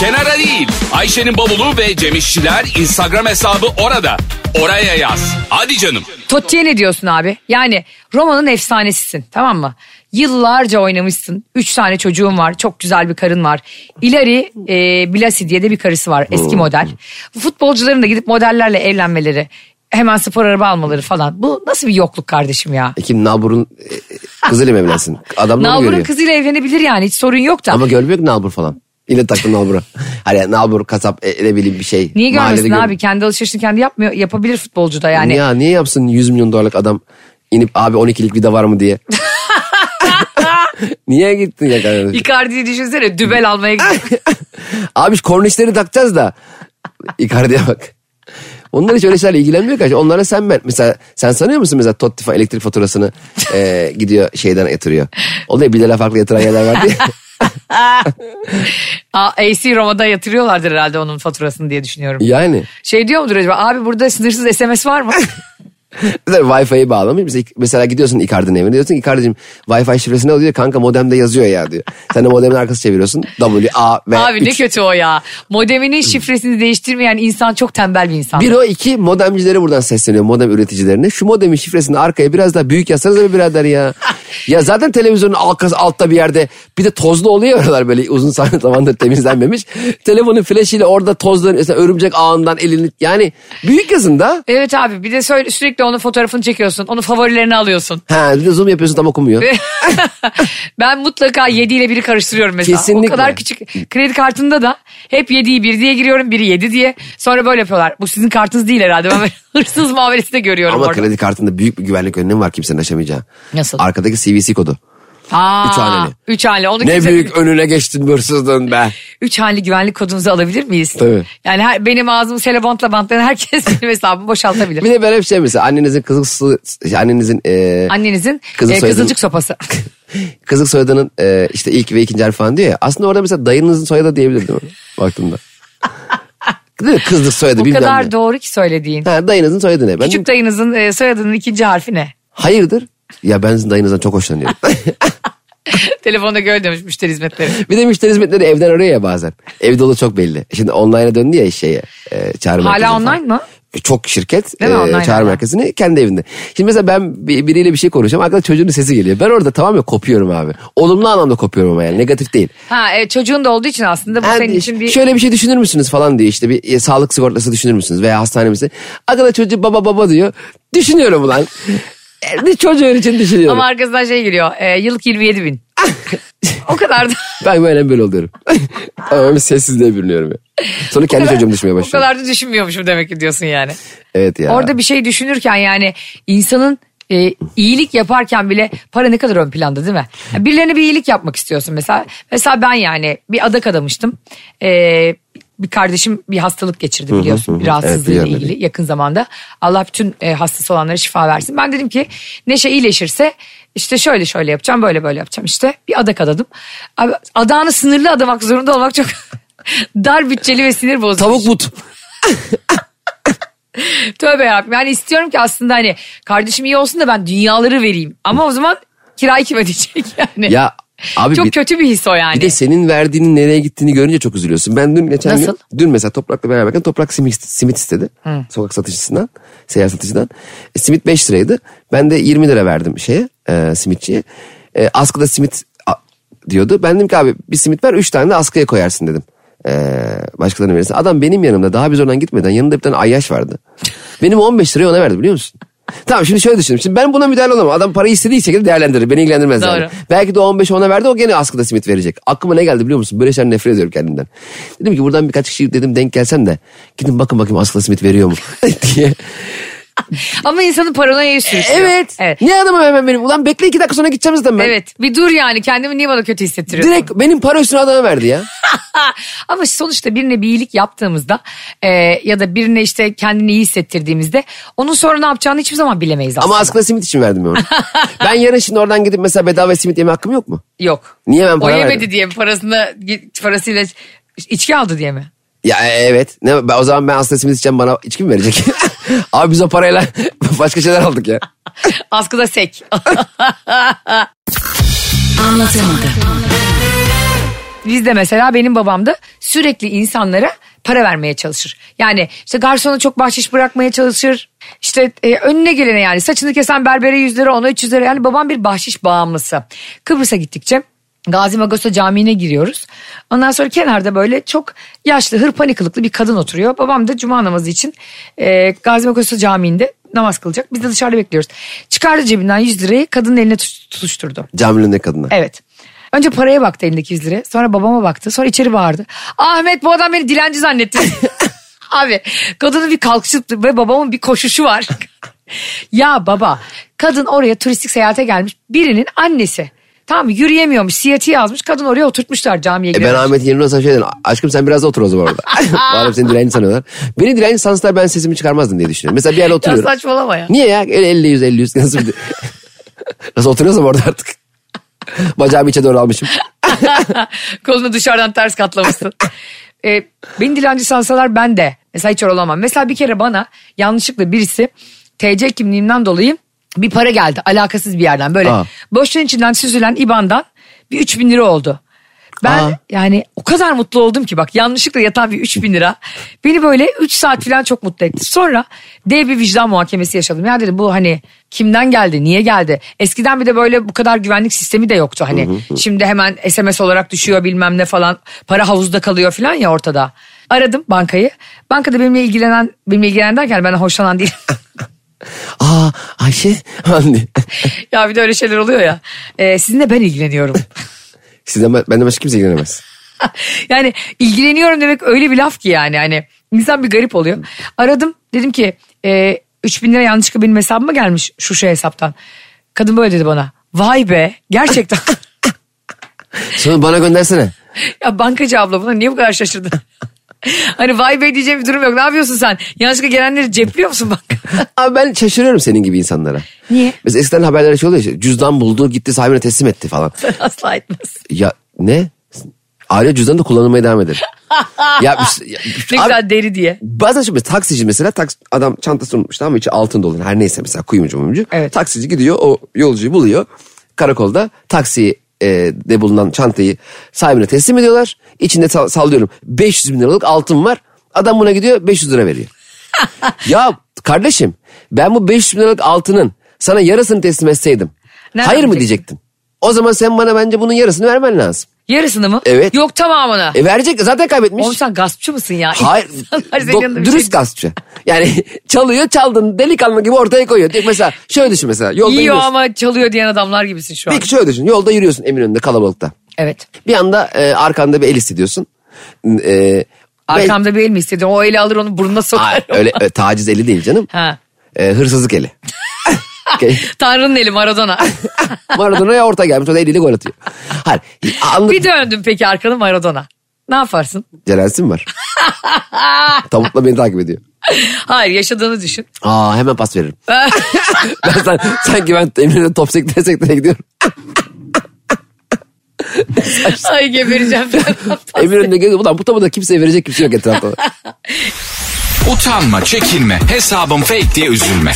Speaker 1: Kenara değil. Ayşe'nin bavulu ve Cemişçiler Instagram hesabı orada. Oraya yaz. Hadi canım.
Speaker 2: Totti'ye ne diyorsun abi? Yani Roma'nın efsanesisin tamam mı? Yıllarca oynamışsın. Üç tane çocuğun var. Çok güzel bir karın var. İleri e, Blasi diye de bir karısı var. Eski model. Futbolcuların da gidip modellerle evlenmeleri. Hemen spor araba almaları falan. Bu nasıl bir yokluk kardeşim ya?
Speaker 3: E Kim Nalbur'un e, kızıyla mı evlensin? Adam da mı
Speaker 2: Nalbur'un
Speaker 3: görüyor?
Speaker 2: kızıyla evlenebilir yani hiç sorun yok da.
Speaker 3: Ama görmüyor ki Nalbur falan. Yine taktı Nalbur'a. Hani Nalbur kasap e, ne bileyim bir şey.
Speaker 2: Niye
Speaker 3: Mahallede
Speaker 2: görmesin
Speaker 3: görüyor.
Speaker 2: abi? Kendi alışverişini kendi yapmıyor. Yapabilir futbolcu da yani.
Speaker 3: Ya niye yapsın 100 milyon dolarlık adam inip abi 12'lik vida var mı diye. niye gittin ya kardeşim?
Speaker 2: Icardi'yi düşünsene dübel almaya gidiyor.
Speaker 3: Abi şu kornişleri takacağız da. Icardi'ye bak. Onlar hiç öyle şeylerle ilgilenmiyor ki. Onlara sen ben. Mesela sen sanıyor musun mesela Totti fa- elektrik faturasını e, gidiyor şeyden yatırıyor. Oluyor bir lira farklı yatıran yerler var diye.
Speaker 2: Aa, AC Roma'da yatırıyorlardır herhalde onun faturasını diye düşünüyorum.
Speaker 3: yani.
Speaker 2: Şey diyor mudur acaba abi burada sınırsız SMS var mı?
Speaker 3: Mesela Wi-Fi'yi bağlamış. Mesela, mesela gidiyorsun Icardi'nin evine diyorsun ki Icardi'cim Wi-Fi şifresi ne oluyor? Kanka modemde yazıyor ya diyor. Sen de modemin arkası çeviriyorsun. W, A, V,
Speaker 2: abi ne
Speaker 3: üç.
Speaker 2: kötü o ya. Modeminin şifresini değiştirmeyen insan çok tembel bir insan.
Speaker 3: Bir o iki modemcilere buradan sesleniyor modem üreticilerine. Şu modemin şifresini arkaya biraz daha büyük yazsanız be birader ya. ya zaten televizyonun arkası altta bir yerde bir de tozlu oluyor oralar böyle uzun zamandır temizlenmemiş. Telefonun flaşıyla orada tozların mesela örümcek ağından elini yani büyük yazın da.
Speaker 2: Evet abi bir de söyle, sürekli onun fotoğrafını çekiyorsun. Onun favorilerini alıyorsun.
Speaker 3: Ha bir de zoom yapıyorsun tam okumuyor.
Speaker 2: ben mutlaka 7 ile 1'i karıştırıyorum mesela.
Speaker 3: Kesinlikle.
Speaker 2: O kadar küçük. Kredi kartında da hep 7'yi 1 diye giriyorum, biri 7 diye. Sonra böyle yapıyorlar. Bu sizin kartınız değil herhalde. Ben böyle hırsız muamelesi de görüyorum
Speaker 3: Ama
Speaker 2: orada.
Speaker 3: kredi kartında büyük bir güvenlik önlemi var kimsenin aşamayacağı.
Speaker 2: Nasıl?
Speaker 3: Arkadaki CVC kodu.
Speaker 2: Aa,
Speaker 3: üç haneli.
Speaker 2: Üç haneli. Onu
Speaker 3: Ne
Speaker 2: kimse-
Speaker 3: büyük önüne geçtin hırsızdın be.
Speaker 2: Üç haneli güvenlik kodunuzu alabilir miyiz?
Speaker 3: Tabii.
Speaker 2: Yani her- benim ağzımı selemontla bantlayan herkes benim hesabımı boşaltabilir.
Speaker 3: Bir de ben hep şey mesela annenizin kızıl annenizin e,
Speaker 2: Annenizin
Speaker 3: Kızın
Speaker 2: e,
Speaker 3: soyadını-
Speaker 2: kızılcık sopası.
Speaker 3: Kızlık soyadının e, işte ilk ve ikinci harfi falan diyor ya. Aslında orada mesela dayınızın soyadı diyebilirdim baktığımda. Değil mi? Kızlık soyadı
Speaker 2: o
Speaker 3: bilmem
Speaker 2: kadar
Speaker 3: ne.
Speaker 2: doğru ki söylediğin.
Speaker 3: Ha, dayınızın soyadı ne? Ben dedim,
Speaker 2: Küçük dayınızın e, soyadının ikinci harfi ne?
Speaker 3: Hayırdır? Ya ben sizin dayınızdan çok hoşlanıyorum.
Speaker 2: Telefonda gör demiş müşteri hizmetleri.
Speaker 3: bir de müşteri hizmetleri evden arıyor ya bazen. Evde olur çok belli. Şimdi online'a döndü ya şeye. E, çağrı merkezine
Speaker 2: Hala
Speaker 3: falan.
Speaker 2: online mı?
Speaker 3: E, Çok şirket
Speaker 2: Değil mi?
Speaker 3: e,
Speaker 2: Online
Speaker 3: çağrı
Speaker 2: hala.
Speaker 3: merkezini kendi evinde. Şimdi mesela ben bir- biriyle bir şey konuşuyorum. Arkada çocuğun sesi geliyor. Ben orada tamamen kopuyorum abi. Olumlu anlamda kopuyorum ama yani negatif değil.
Speaker 2: Ha e, çocuğun da olduğu için aslında bu
Speaker 3: Yani
Speaker 2: senin için bir
Speaker 3: Şöyle bir şey düşünür müsünüz falan diyor işte bir e, sağlık sigortası düşünür müsünüz veya hastane misin? Arkada çocuğu baba baba diyor. Düşünüyorum ulan. E, Bir çocuğun için düşünüyorum.
Speaker 2: ama arkasından şey geliyor. E, yıllık 27 bin. o kadar da
Speaker 3: Ben böyle böyle oluyorum. Tamamen sessizliğe bürünüyorum. ya. Sonra kendi çocuğum düşmeye
Speaker 2: o
Speaker 3: başlıyor.
Speaker 2: kadar da düşünmüyormuşum demek ki diyorsun yani.
Speaker 3: Evet ya.
Speaker 2: Orada bir şey düşünürken yani insanın e, iyilik yaparken bile para ne kadar ön planda değil mi? Yani Birilerine bir iyilik yapmak istiyorsun mesela. Mesela ben yani bir adak adamıştım. E, bir kardeşim bir hastalık geçirdi biliyorsun. Bir
Speaker 3: hı.
Speaker 2: rahatsızlığıyla
Speaker 3: Evet, biliyorum
Speaker 2: ilgili yakın zamanda. Allah bütün e, hastası olanlara şifa versin. Ben dedim ki Neşe iyileşirse işte şöyle şöyle yapacağım böyle böyle yapacağım işte. Bir adak adadım. Abi, adağını sınırlı adamak zorunda olmak çok dar bütçeli ve sinir bozucu.
Speaker 3: Tavuk but.
Speaker 2: Tövbe yarabbim. Yani istiyorum ki aslında hani kardeşim iyi olsun da ben dünyaları vereyim. Ama o zaman kirayı kim ödeyecek yani?
Speaker 3: Ya abi
Speaker 2: Çok
Speaker 3: bir,
Speaker 2: kötü bir his o yani.
Speaker 3: bir de senin verdiğinin nereye gittiğini görünce çok üzülüyorsun. Ben dün geçen
Speaker 2: Nasıl?
Speaker 3: gün dün mesela Toprak'la beraberken Toprak simit, simit istedi. Sokak satışçısından, seyyar satıcıdan. E, simit 5 liraydı. Ben de 20 lira verdim şeye, e, simitçiye. E, askıda simit a- diyordu. Ben dedim ki abi bir simit ver 3 tane de askıya koyarsın dedim. E, başkalarına verirsin. Adam benim yanımda daha biz oradan gitmeden yanında bir tane ayyaş vardı. Benim 15 lirayı ona verdi biliyor musun? Tamam şimdi şöyle düşündüm. Şimdi ben buna müdahale olamam. Adam parayı istediği şekilde değerlendirir. Beni ilgilendirmez yani.
Speaker 2: Doğru.
Speaker 3: Belki de 15 ona verdi o gene askıda simit verecek. Aklıma ne geldi biliyor musun? Böyle şeyler nefret ediyorum kendimden. Dedim ki buradan birkaç kişi dedim denk gelsem de gidin bakın bakayım askıda simit veriyor mu diye.
Speaker 2: Ama insanın paranoyaya sürüklüyor.
Speaker 3: Evet.
Speaker 2: evet.
Speaker 3: Ne adamım hemen benim. Ulan bekle iki dakika sonra gideceğim zaten ben.
Speaker 2: Evet. Bir dur yani kendimi niye bana kötü hissettiriyorsun?
Speaker 3: Direkt benim para üstüne adama verdi ya.
Speaker 2: Ama sonuçta birine bir iyilik yaptığımızda e, ya da birine işte kendini iyi hissettirdiğimizde onun sonra ne yapacağını hiçbir zaman bilemeyiz aslında.
Speaker 3: Ama askıda simit için verdim ben onu. ben yarın şimdi oradan gidip mesela bedava simit yeme hakkım yok mu?
Speaker 2: Yok.
Speaker 3: Niye ben para
Speaker 2: O yemedi
Speaker 3: verdim?
Speaker 2: diye mi? Parasını, parasıyla içki aldı diye mi?
Speaker 3: Ya e, evet. Ne, ben, o zaman ben askıda simit içeceğim bana içki mi verecek? Abi biz o parayla başka şeyler aldık ya.
Speaker 2: Askıda sek. Bizde mesela benim babam da sürekli insanlara para vermeye çalışır. Yani işte garsona çok bahşiş bırakmaya çalışır. İşte e, önüne gelene yani saçını kesen berbere 100 lira ona 300 lira yani babam bir bahşiş bağımlısı. Kıbrıs'a gittikçe Gazi Magosa Camii'ne giriyoruz. Ondan sonra kenarda böyle çok yaşlı hırpani kılıklı bir kadın oturuyor. Babam da cuma namazı için e, Gazi Magosa Camii'nde namaz kılacak. Biz de dışarıda bekliyoruz. Çıkardı cebinden 100 lirayı kadının eline tutuş- tutuşturdu.
Speaker 3: Camilin ne kadına.
Speaker 2: Evet. Önce paraya baktı elindeki 100 lira. Sonra babama baktı. Sonra içeri bağırdı. Ahmet bu adam beni dilenci zannetti. Abi kadının bir kalkışı ve babamın bir koşuşu var. ya baba kadın oraya turistik seyahate gelmiş birinin annesi. Tamam yürüyemiyormuş. Siyatiye yazmış. Kadın oraya oturtmuşlar camiye
Speaker 3: E
Speaker 2: girerek.
Speaker 3: ben Ahmet'in yerine olsam şey derim. Aşkım sen biraz da otur o zaman orada. Madem seni direnci sanıyorlar. Beni direnci sansınlar ben sesimi çıkarmazdım diye düşünüyorum. Mesela bir yerde
Speaker 2: Ya
Speaker 3: oturuyorum.
Speaker 2: saçmalama ya.
Speaker 3: Niye ya? Öyle 50 100 50 100 nasıl bir... Nasıl oturuyorsam orada artık. Bacağımı içe doğru almışım.
Speaker 2: Kolunu dışarıdan ters katlamışsın. e, beni dilenci sansalar ben de. Mesela hiç öyle olamam. Mesela bir kere bana yanlışlıkla birisi TC kimliğimden dolayı bir para geldi. Alakasız bir yerden böyle.
Speaker 3: Aa.
Speaker 2: Boşluğun içinden süzülen IBAN'dan bir 3000 lira oldu. Ben
Speaker 3: Aa.
Speaker 2: yani o kadar mutlu oldum ki bak yanlışlıkla yatan bir 3000 lira beni böyle 3 saat falan çok mutlu etti. Sonra dev bir vicdan muhakemesi yaşadım. Ya dedim bu hani kimden geldi niye geldi? Eskiden bir de böyle bu kadar güvenlik sistemi de yoktu hani. Şimdi hemen SMS olarak düşüyor bilmem ne falan para havuzda kalıyor falan ya ortada. Aradım bankayı. Bankada benimle ilgilenen, benimle ilgilenen derken ben hoşlanan değil.
Speaker 3: Aa Ayşe. Hani.
Speaker 2: ya bir de öyle şeyler oluyor ya. Ee, sizinle ben ilgileniyorum.
Speaker 3: Sizden ben- benden başka kimse ilgilenemez.
Speaker 2: yani ilgileniyorum demek öyle bir laf ki yani hani insan bir garip oluyor. Aradım dedim ki e, 3000 lira yanlışlıkla benim hesabıma gelmiş şu şu hesaptan. Kadın böyle dedi bana vay be gerçekten
Speaker 3: Sonra bana göndersene.
Speaker 2: ya bankacı abla buna niye bu kadar şaşırdın? hani vay be diyeceğim bir durum yok ne yapıyorsun sen yanlışlıkla gelenleri cepliyor musun banka?
Speaker 3: Abi ben şaşırıyorum senin gibi insanlara.
Speaker 2: Niye?
Speaker 3: Mesela eskiden haberlerde şey oluyor işte, cüzdan buldu gitti sahibine teslim etti falan.
Speaker 2: Asla etmez.
Speaker 3: Ya ne? Aile cüzdanı da kullanılmaya devam eder. ya, bir- ya-
Speaker 2: Ne
Speaker 3: abi-
Speaker 2: güzel deri diye.
Speaker 3: Bazen şimdi taksici mesela taks, adam çantasını unutmuş tamam mı içi altın dolu her neyse mesela kuyumcu muyumcu.
Speaker 2: Evet.
Speaker 3: Taksici gidiyor o yolcuyu buluyor karakolda taksi e, de bulunan çantayı sahibine teslim ediyorlar. İçinde sal- sallıyorum 500 bin liralık altın var adam buna gidiyor 500 lira veriyor. ya kardeşim ben bu 500 bin liralık altının sana yarısını teslim etseydim
Speaker 2: Nereden
Speaker 3: hayır mı
Speaker 2: bilecektin?
Speaker 3: diyecektin? O zaman sen bana bence bunun yarısını vermen lazım.
Speaker 2: Yarısını mı?
Speaker 3: Evet.
Speaker 2: Yok tamamını.
Speaker 3: E verecek zaten kaybetmiş.
Speaker 2: Oğlum sen gaspçı mısın ya?
Speaker 3: Hayır.
Speaker 2: İnsanlar senin
Speaker 3: do-
Speaker 2: yanında bir şey-
Speaker 3: dürüst gaspçı. Yani çalıyor çaldın delikanlı gibi ortaya koyuyor. Diyor, Mesela şöyle düşün mesela. Yolda
Speaker 2: Yiyor
Speaker 3: yürüyorsun.
Speaker 2: ama çalıyor diyen adamlar gibisin şu an.
Speaker 3: Peki şöyle düşün. Yolda yürüyorsun Eminönü'nde kalabalıkta.
Speaker 2: Evet.
Speaker 3: Bir anda e, arkanda bir el hissediyorsun. E,
Speaker 2: Arkamda bir el mi istedim? O eli alır onu burnuna
Speaker 3: ve- Ay,
Speaker 2: sokar.
Speaker 3: öyle e, taciz eli değil canım.
Speaker 2: Ha.
Speaker 3: E, hırsızlık eli. Okay.
Speaker 2: Tanrı'nın eli Maradona.
Speaker 3: Maradona'ya orta gelmiş. O da eliyle gol atıyor. Hayır. Anlık
Speaker 2: bir döndüm peki arkanı Maradona. Ne yaparsın?
Speaker 3: Cerensin var. Tavukla beni takip ediyor.
Speaker 2: Hayır yaşadığını düşün.
Speaker 3: Aa hemen pas veririm. ben san- sanki ben Eminönü'nde top sekteye sekteye gidiyorum.
Speaker 2: Ay gebereceğim. ben.
Speaker 3: Eminönü'nde geliyor. Ulan bu topu da kimseye verecek kimse yok etrafta.
Speaker 1: Utanma, çekinme, hesabım fake diye üzülme.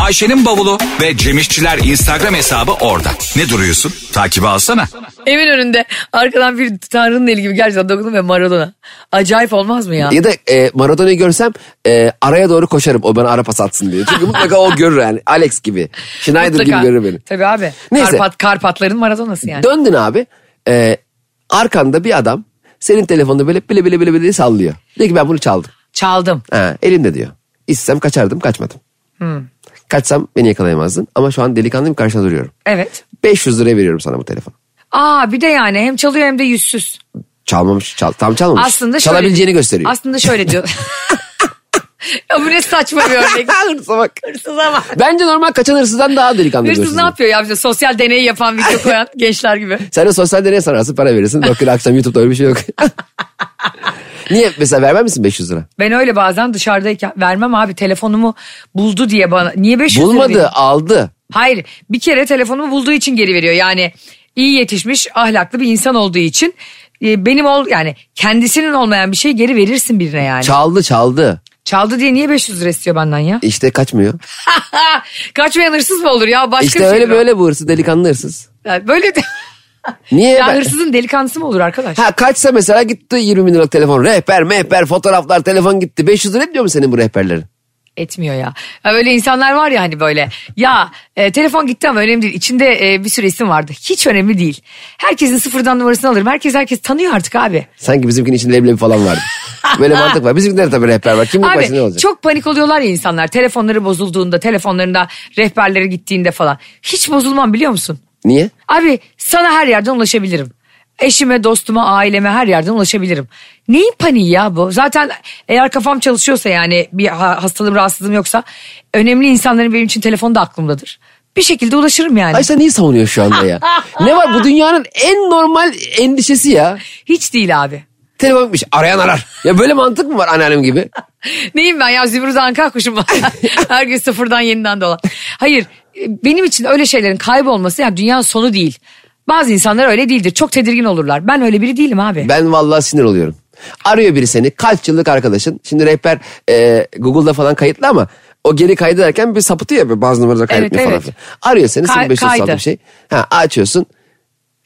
Speaker 1: Ayşe'nin bavulu ve Cemişçiler Instagram hesabı orada. Ne duruyorsun? Takibi alsana.
Speaker 2: Evin önünde arkadan bir Tanrı'nın eli gibi gerçekten dokundum ve Maradona. Acayip olmaz mı ya?
Speaker 3: ya da e, Maradona'yı görsem e, araya doğru koşarım. O bana ara pas atsın diye. Çünkü mutlaka o görür yani. Alex gibi. Schneider gibi
Speaker 2: Mutlaka.
Speaker 3: görür beni.
Speaker 2: Tabii abi.
Speaker 3: Neyse.
Speaker 2: Karpat, Karpatların Maradona'sı yani.
Speaker 3: Döndün abi. E, arkanda bir adam senin telefonunu böyle bile bile bile bile sallıyor. Diyor ki ben bunu çaldım.
Speaker 2: Çaldım.
Speaker 3: Ha, elimde diyor. İstesem kaçardım kaçmadım.
Speaker 2: Hmm.
Speaker 3: Kaçsam beni yakalayamazdın. Ama şu an delikanlıyım karşına duruyorum.
Speaker 2: Evet.
Speaker 3: 500 liraya veriyorum sana bu telefonu.
Speaker 2: Aa bir de yani hem çalıyor hem de yüzsüz.
Speaker 3: Çalmamış, çal, tam çalmamış.
Speaker 2: Aslında şöyle-
Speaker 3: Çalabileceğini gösteriyor.
Speaker 2: Aslında şöyle diyor. ya bu ne saçma bir örnek.
Speaker 3: Hırsa bak.
Speaker 2: Hırsız ama.
Speaker 3: Bence normal kaçan hırsızdan daha delikanlı
Speaker 2: Hırsız
Speaker 3: görürsün.
Speaker 2: ne yapıyor ya bize sosyal deneyi yapan video koyan gençler gibi.
Speaker 3: Sen de sosyal deney sanarsın para verirsin. Bakın akşam YouTube'da öyle bir şey yok. Niye mesela vermez misin 500 lira?
Speaker 2: Ben öyle bazen dışarıdayken vermem abi telefonumu buldu diye bana. Niye 500 lira
Speaker 3: Bulmadı
Speaker 2: veriyor?
Speaker 3: aldı.
Speaker 2: Hayır bir kere telefonumu bulduğu için geri veriyor. Yani iyi yetişmiş ahlaklı bir insan olduğu için e, benim ol yani kendisinin olmayan bir şey geri verirsin birine yani.
Speaker 3: Çaldı çaldı.
Speaker 2: Çaldı diye niye 500 lira istiyor benden ya?
Speaker 3: İşte kaçmıyor.
Speaker 2: Kaçmayan hırsız mı olur ya başka
Speaker 3: işte
Speaker 2: bir şey.
Speaker 3: öyle böyle bu hırsız delikanlı hırsız.
Speaker 2: böyle de...
Speaker 3: Niye?
Speaker 2: Ya
Speaker 3: ben-
Speaker 2: hırsızın delikanlısı mı olur arkadaş?
Speaker 3: Ha kaçsa mesela gitti 20 bin liralık telefon. Rehber mehber fotoğraflar telefon gitti. 500 lira etmiyor mu senin bu rehberlerin?
Speaker 2: Etmiyor ya. Ha, Öyle insanlar var ya hani böyle. Ya e, telefon gitti ama önemli değil. İçinde e, bir sürü isim vardı. Hiç önemli değil. Herkesin sıfırdan numarasını alırım. Herkes herkes tanıyor artık abi.
Speaker 3: Sanki bizimkinin içinde leblebi falan vardı. Böyle mantık var. Bizimkinde de tabii rehber var. Kimlik başı ne
Speaker 2: Abi
Speaker 3: olacak?
Speaker 2: çok panik oluyorlar ya insanlar. Telefonları bozulduğunda, telefonlarında rehberleri gittiğinde falan. Hiç bozulmam biliyor musun?
Speaker 3: Niye?
Speaker 2: Abi sana her yerden ulaşabilirim. Eşime, dostuma, aileme her yerden ulaşabilirim. Neyin paniği ya bu? Zaten eğer kafam çalışıyorsa yani bir ha- hastalığım, rahatsızlığım yoksa önemli insanların benim için telefonu da aklımdadır. bir şekilde ulaşırım yani.
Speaker 3: Ay sen niye savunuyor şu anda ya? ne var bu dünyanın en normal endişesi ya.
Speaker 2: Hiç değil abi.
Speaker 3: Telefon gitmiş arayan arar. Ya böyle mantık mı var anneannem gibi?
Speaker 2: Neyim ben ya zümrüt anka kuşum var. Her gün sıfırdan yeniden dolan. Hayır e, benim için öyle şeylerin kaybolması yani dünyanın sonu değil. Bazı insanlar öyle değildir. Çok tedirgin olurlar. Ben öyle biri değilim abi.
Speaker 3: Ben vallahi sinir oluyorum. Arıyor biri seni kaç yıllık arkadaşın. Şimdi rehber e, Google'da falan kayıtlı ama o geri kaydederken bir sapıtıyor ya böyle bazı numaraları kaydetmiyor
Speaker 2: evet.
Speaker 3: falan filan. Arıyor seni
Speaker 2: Kay-
Speaker 3: 0536
Speaker 2: kaydı.
Speaker 3: bir şey. Ha, açıyorsun.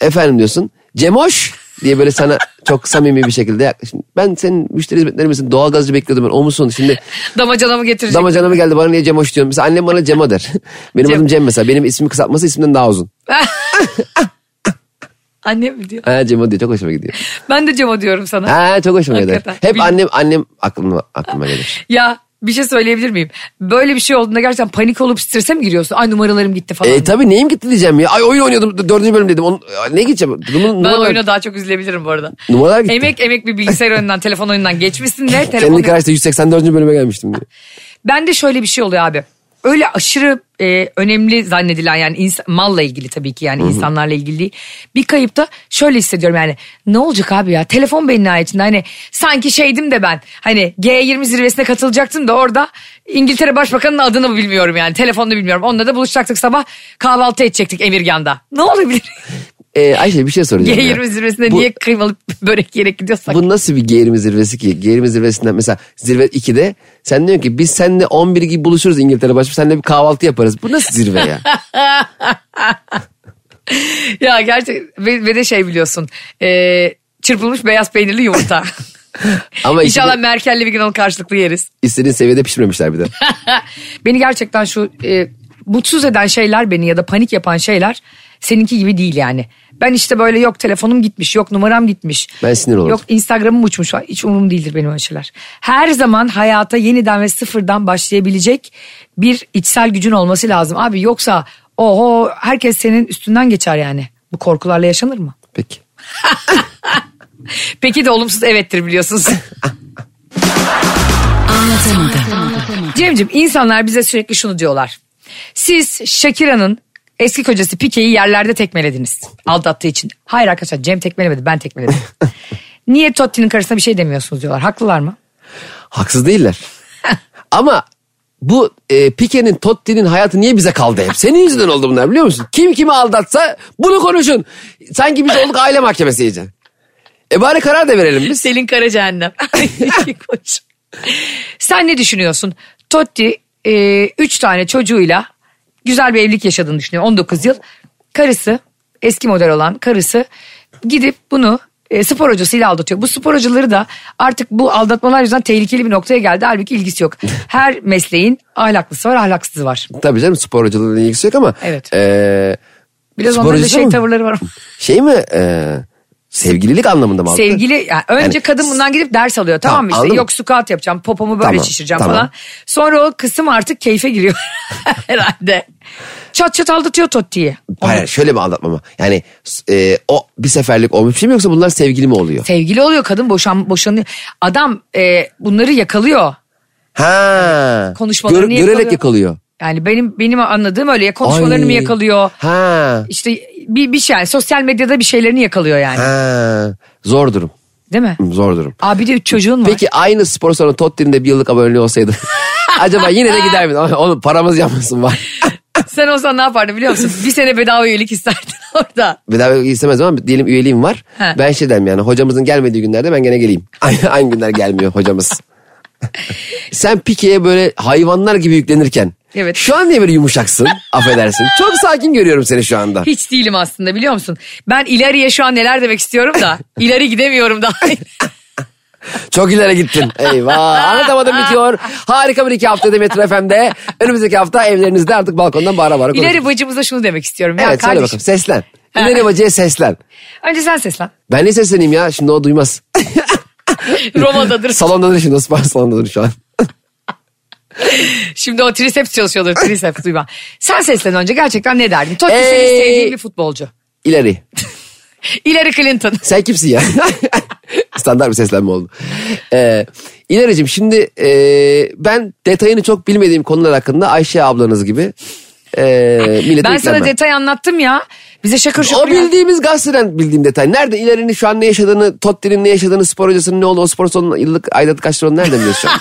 Speaker 3: Efendim diyorsun. Cemoş diye böyle sana çok samimi bir şekilde yaklaşın. Ben senin müşteri hizmetleri misin? Doğalgazcı bekliyordum ben. O musun? Şimdi
Speaker 2: Damacanamı getirecek.
Speaker 3: damacana mı geldi bana niye Cemoş diyorsun? Mesela annem bana Cemo der. Benim
Speaker 2: Cem.
Speaker 3: adım Cem mesela. Benim ismi kısaltması ismimden daha uzun.
Speaker 2: Annem mi diyor?
Speaker 3: Ha Cemo diyor. Çok hoşuma gidiyor.
Speaker 2: Ben de Cemo diyorum sana.
Speaker 3: Ha çok hoşuma gidiyor.
Speaker 2: Hakikaten.
Speaker 3: Hep
Speaker 2: Bil-
Speaker 3: annem annem aklıma, aklıma gelir.
Speaker 2: Ya bir şey söyleyebilir miyim? Böyle bir şey olduğunda gerçekten panik olup strese mi giriyorsun? Ay numaralarım gitti falan.
Speaker 3: E tabii neyim gitti diyeceğim ya. Ay oyun oynuyordum d- dördüncü bölüm dedim. Onu, ne gideceğim? Numara,
Speaker 2: ben
Speaker 3: numaralar-
Speaker 2: oyuna daha çok üzülebilirim bu arada.
Speaker 3: Numaralar gitti.
Speaker 2: Emek emek bir bilgisayar oyunundan, telefon oyunundan geçmişsin de telefon
Speaker 3: Senin karşıda 184. bölüme gelmiştim diye.
Speaker 2: Ben de şöyle bir şey oluyor abi. Öyle aşırı e, önemli zannedilen yani ins- malla ilgili tabii ki yani insanlarla ilgili değil. Bir kayıpta şöyle hissediyorum yani ne olacak abi ya telefon benim nihayetinde hani sanki şeydim de ben hani G20 zirvesine katılacaktım da orada İngiltere Başbakanı'nın adını bilmiyorum yani telefonunu bilmiyorum. Onunla da buluşacaktık sabah kahvaltı edecektik Emirgan'da. Ne olabilir
Speaker 3: E, Ayşe bir şey soracağım. ya.
Speaker 2: G20 zirvesine
Speaker 3: Bu-
Speaker 2: niye kıymalı börek yerek gidiyorsak.
Speaker 3: Bu nasıl bir G20 zirvesi ki? G20 zirvesinden mesela zirve 2'de sen diyorsun ki biz seninle 11 gibi buluşuruz İngiltere başım. Seninle bir kahvaltı yaparız. Bu nasıl zirve ya?
Speaker 2: Ya gerçek ve, ve de şey biliyorsun e, çırpılmış beyaz peynirli yumurta.
Speaker 3: Ama
Speaker 2: İnşallah
Speaker 3: işte-
Speaker 2: Merkel'le bir gün onu karşılıklı yeriz.
Speaker 3: İstediğin seviyede pişirmemişler bir de.
Speaker 2: Beni gerçekten şu e, mutsuz eden şeyler beni ya da panik yapan şeyler seninki gibi değil yani. Ben işte böyle yok telefonum gitmiş, yok numaram gitmiş.
Speaker 3: Ben sinir olurum.
Speaker 2: Yok Instagram'ım uçmuş falan. Hiç umurum değildir benim öyle şeyler. Her zaman hayata yeniden ve sıfırdan başlayabilecek bir içsel gücün olması lazım. Abi yoksa oho herkes senin üstünden geçer yani. Bu korkularla yaşanır mı?
Speaker 3: Peki.
Speaker 2: Peki de olumsuz evettir biliyorsunuz. Cem'ciğim insanlar bize sürekli şunu diyorlar. Siz Shakira'nın eski kocası Pike'yi yerlerde tekmelediniz. Aldattığı için. Hayır arkadaşlar Cem tekmelemedi ben tekmeledim. Niye Totti'nin karısına bir şey demiyorsunuz diyorlar. Haklılar mı?
Speaker 3: Haksız değiller. Ama bu e, Pike'nin Totti'nin hayatı niye bize kaldı hep? Senin yüzünden oldu bunlar biliyor musun? Kim kimi aldatsa bunu konuşun. Sanki biz olduk aile mahkemesi iyice. E bari karar da verelim biz.
Speaker 2: Selin Kara Cehennem. Koç. Sen ne düşünüyorsun? Totti e, üç tane çocuğuyla güzel bir evlilik yaşadığını düşünüyor. 19 yıl. Karısı eski model olan karısı gidip bunu e, spor hocasıyla aldatıyor. Bu spor hocaları da artık bu aldatmalar yüzünden tehlikeli bir noktaya geldi. Halbuki ilgisi yok. Her mesleğin ahlaklısı var ahlaksızı var.
Speaker 3: Tabii canım spor hocalarıyla ilgisi yok ama.
Speaker 2: Evet.
Speaker 3: e,
Speaker 2: Biraz
Speaker 3: spor
Speaker 2: onların da
Speaker 3: hocası
Speaker 2: şey
Speaker 3: mı?
Speaker 2: tavırları var.
Speaker 3: Şey mi? e, sevgililik anlamında mı? aldı?
Speaker 2: Sevgili yani önce
Speaker 3: Yani-
Speaker 2: kadın bundan gidip ders alıyor tamam,
Speaker 3: Tamam,
Speaker 2: mı işte
Speaker 3: anladım.
Speaker 2: yok squat yapacağım popomu böyle
Speaker 3: Tamam,
Speaker 2: şişireceğim
Speaker 3: tamam.
Speaker 2: falan. Sonra o kısım artık keyfe giriyor herhalde. Çat çat aldatıyor Totti'yi.
Speaker 3: Hayır şöyle mi aldatma mı? Yani e, o bir seferlik olmuş bir şey mi yoksa bunlar sevgili mi oluyor?
Speaker 2: Sevgili oluyor kadın boşan boşanıyor. Adam e, bunları yakalıyor.
Speaker 3: Ha.
Speaker 2: Konuşmalarını
Speaker 3: Gör-
Speaker 2: yakalıyor.
Speaker 3: Görerek yakalıyor.
Speaker 2: Yani benim benim anladığım öyle ya konuşmalarını mı
Speaker 3: Ay.
Speaker 2: yakalıyor?
Speaker 3: Ha.
Speaker 2: İşte bir, bir şey yani sosyal medyada bir şeylerini yakalıyor yani.
Speaker 3: Ha. Zor durum.
Speaker 2: Değil mi?
Speaker 3: Zor durum.
Speaker 2: Aa bir de üç çocuğun var.
Speaker 3: Peki aynı spor salonu Totti'nin de bir yıllık aboneliği olsaydı. acaba yine de gider miydin? Ama Oğlum paramız yanmasın var.
Speaker 2: Sen olsan ne yapardın biliyor musun? Bir sene bedava üyelik isterdin orada.
Speaker 3: Bir daha istemez ama diyelim üyeliğim var.
Speaker 2: He.
Speaker 3: Ben şey derim yani hocamızın gelmediği günlerde ben gene geleyim. Aynı, aynı günler gelmiyor hocamız. Sen pikeye böyle hayvanlar gibi yüklenirken.
Speaker 2: Evet.
Speaker 3: Şu an niye böyle yumuşaksın? Affedersin. Çok sakin görüyorum seni şu anda.
Speaker 2: Hiç değilim aslında biliyor musun? Ben ileriye şu an neler demek istiyorum da ileri gidemiyorum daha.
Speaker 3: Çok ileri gittin. Eyvah. Anlatamadım bitiyor. Harika bir iki haftada Metro FM'de. Önümüzdeki hafta evlerinizde artık balkondan bağıra bağıra konuşuruz.
Speaker 2: ileri bacımıza şunu demek istiyorum. ya
Speaker 3: Evet söyle
Speaker 2: kardeşim.
Speaker 3: bakalım seslen. İleri bacıya seslen.
Speaker 2: Önce sen seslen.
Speaker 3: Ben ne sesleneyim ya? Şimdi o duymaz.
Speaker 2: Roma'dadır.
Speaker 3: Salondadır şimdi. Spor salondadır şu an.
Speaker 2: Şimdi o triceps çalışıyordur triceps duyma. Sen seslen önce gerçekten ne derdin? Totti seni
Speaker 3: Ey!
Speaker 2: sevdiğin bir futbolcu.
Speaker 3: İleri.
Speaker 2: Ileri Clinton.
Speaker 3: Sen kimsin ya? Standart bir seslenme oldu. Ee, İlericim şimdi e, ben detayını çok bilmediğim konular hakkında Ayşe ablanız gibi e, millete
Speaker 2: Ben sana
Speaker 3: yüklenmem.
Speaker 2: detay anlattım ya. Bize şakır şakır.
Speaker 3: O
Speaker 2: ya.
Speaker 3: bildiğimiz gazeteden bildiğim detay. Nerede ilerini şu an ne yaşadığını, Totti'nin ne yaşadığını, spor hocasının ne oldu, o spor salonuna yıllık aidat kaç lira onu nereden biliyoruz şu an?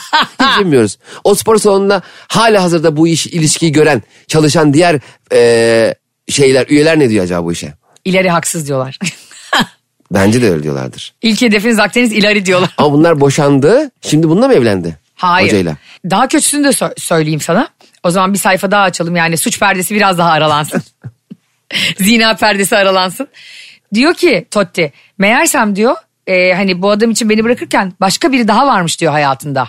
Speaker 3: Hiç bilmiyoruz. O spor salonunda hala hazırda bu iş ilişkiyi gören, çalışan diğer e, şeyler, üyeler ne diyor acaba bu işe?
Speaker 2: İleri haksız diyorlar.
Speaker 3: Bence de öyle diyorlardır.
Speaker 2: İlk hedefiniz Akdeniz ileri diyorlar.
Speaker 3: Ama bunlar boşandı. Şimdi bununla mı evlendi?
Speaker 2: Hayır.
Speaker 3: Hocayla.
Speaker 2: Daha kötüsünü de sö- söyleyeyim sana. O zaman bir sayfa daha açalım yani suç perdesi biraz daha aralansın. Zina perdesi aralansın. Diyor ki Totti meğersem diyor e, hani bu adam için beni bırakırken başka biri daha varmış diyor hayatında.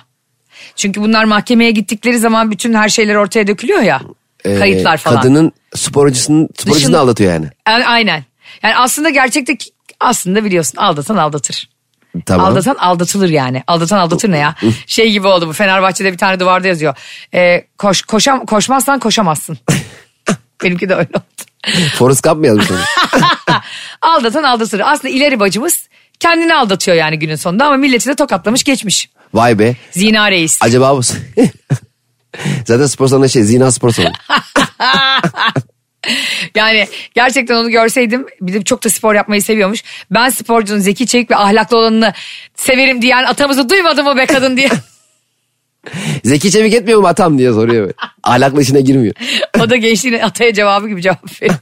Speaker 2: Çünkü bunlar mahkemeye gittikleri zaman bütün her şeyler ortaya dökülüyor ya.
Speaker 3: E,
Speaker 2: kayıtlar falan.
Speaker 3: Kadının spor hocasının, spor hocasını
Speaker 2: Dışında-
Speaker 3: aldatıyor yani.
Speaker 2: A- Aynen. Yani aslında gerçekte ki- aslında biliyorsun aldatan aldatır.
Speaker 3: Tamam.
Speaker 2: Aldatan aldatılır yani. Aldatan aldatır ne ya? Şey gibi oldu bu Fenerbahçe'de bir tane duvarda yazıyor. Ee, koş, koşam, koşmazsan koşamazsın. Benimki de öyle oldu.
Speaker 3: Forrest Gump mı yazmış onu?
Speaker 2: aldatan aldatır. Aslında ileri bacımız kendini aldatıyor yani günün sonunda ama milleti de tokatlamış geçmiş.
Speaker 3: Vay be.
Speaker 2: Zina reis.
Speaker 3: Acaba bu... Zaten spor salonu şey, zina spor salonu.
Speaker 2: Yani gerçekten onu görseydim bir de çok da spor yapmayı seviyormuş. Ben sporcunun zeki çevik ve ahlaklı olanını severim diyen atamızı duymadı mı be kadın diye.
Speaker 3: Zeki Çevik etmiyor mu atam diye soruyor böyle. Ahlaklı işine girmiyor.
Speaker 2: o da gençliğin ataya cevabı gibi cevap veriyor.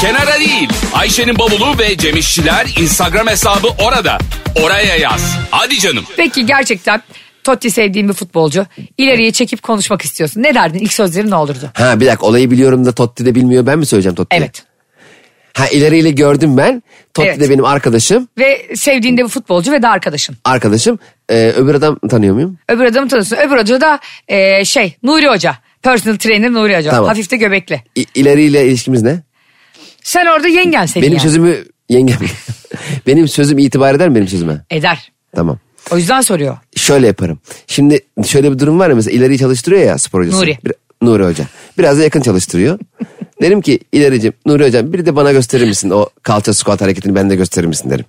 Speaker 1: Kenara değil. Ayşe'nin bavulu ve Cemişçiler Instagram hesabı orada. Oraya yaz. Hadi canım.
Speaker 2: Peki gerçekten Totti sevdiğin bir futbolcu. İleriye çekip konuşmak istiyorsun. Ne derdin? İlk sözlerin ne olurdu?
Speaker 3: Ha bir dakika olayı biliyorum da Totti de bilmiyor ben mi söyleyeceğim Totti'ye?
Speaker 2: Evet.
Speaker 3: Ha ileriyle gördüm ben. Totti
Speaker 2: Evet.
Speaker 3: de benim arkadaşım.
Speaker 2: Ve sevdiğin de bir futbolcu ve de arkadaşın.
Speaker 3: Arkadaşım. Ee, öbür adam tanıyor muyum?
Speaker 2: Öbür adamı tanıyorsun. Öbür hoca da e, şey Nuri Hoca. Personal trainer Nuri Hoca.
Speaker 3: Tamam.
Speaker 2: Hafif de göbekli.
Speaker 3: İ- ileriyle ilişkimiz ne?
Speaker 2: Sen orada yengen seni
Speaker 3: Benim
Speaker 2: yani.
Speaker 3: sözümü yengem. benim sözüm itibar eder mi benim sözüme?
Speaker 2: Eder.
Speaker 3: Tamam.
Speaker 2: O yüzden soruyor.
Speaker 3: Şöyle yaparım. Şimdi şöyle bir durum var ya mesela ileriyi çalıştırıyor ya spor hocası.
Speaker 2: Nuri.
Speaker 3: Bir- Nuri Hoca. Biraz da yakın çalıştırıyor. derim ki ilericim Nuri Hocam bir de bana gösterir misin o kalça squat hareketini ben de gösterir misin derim.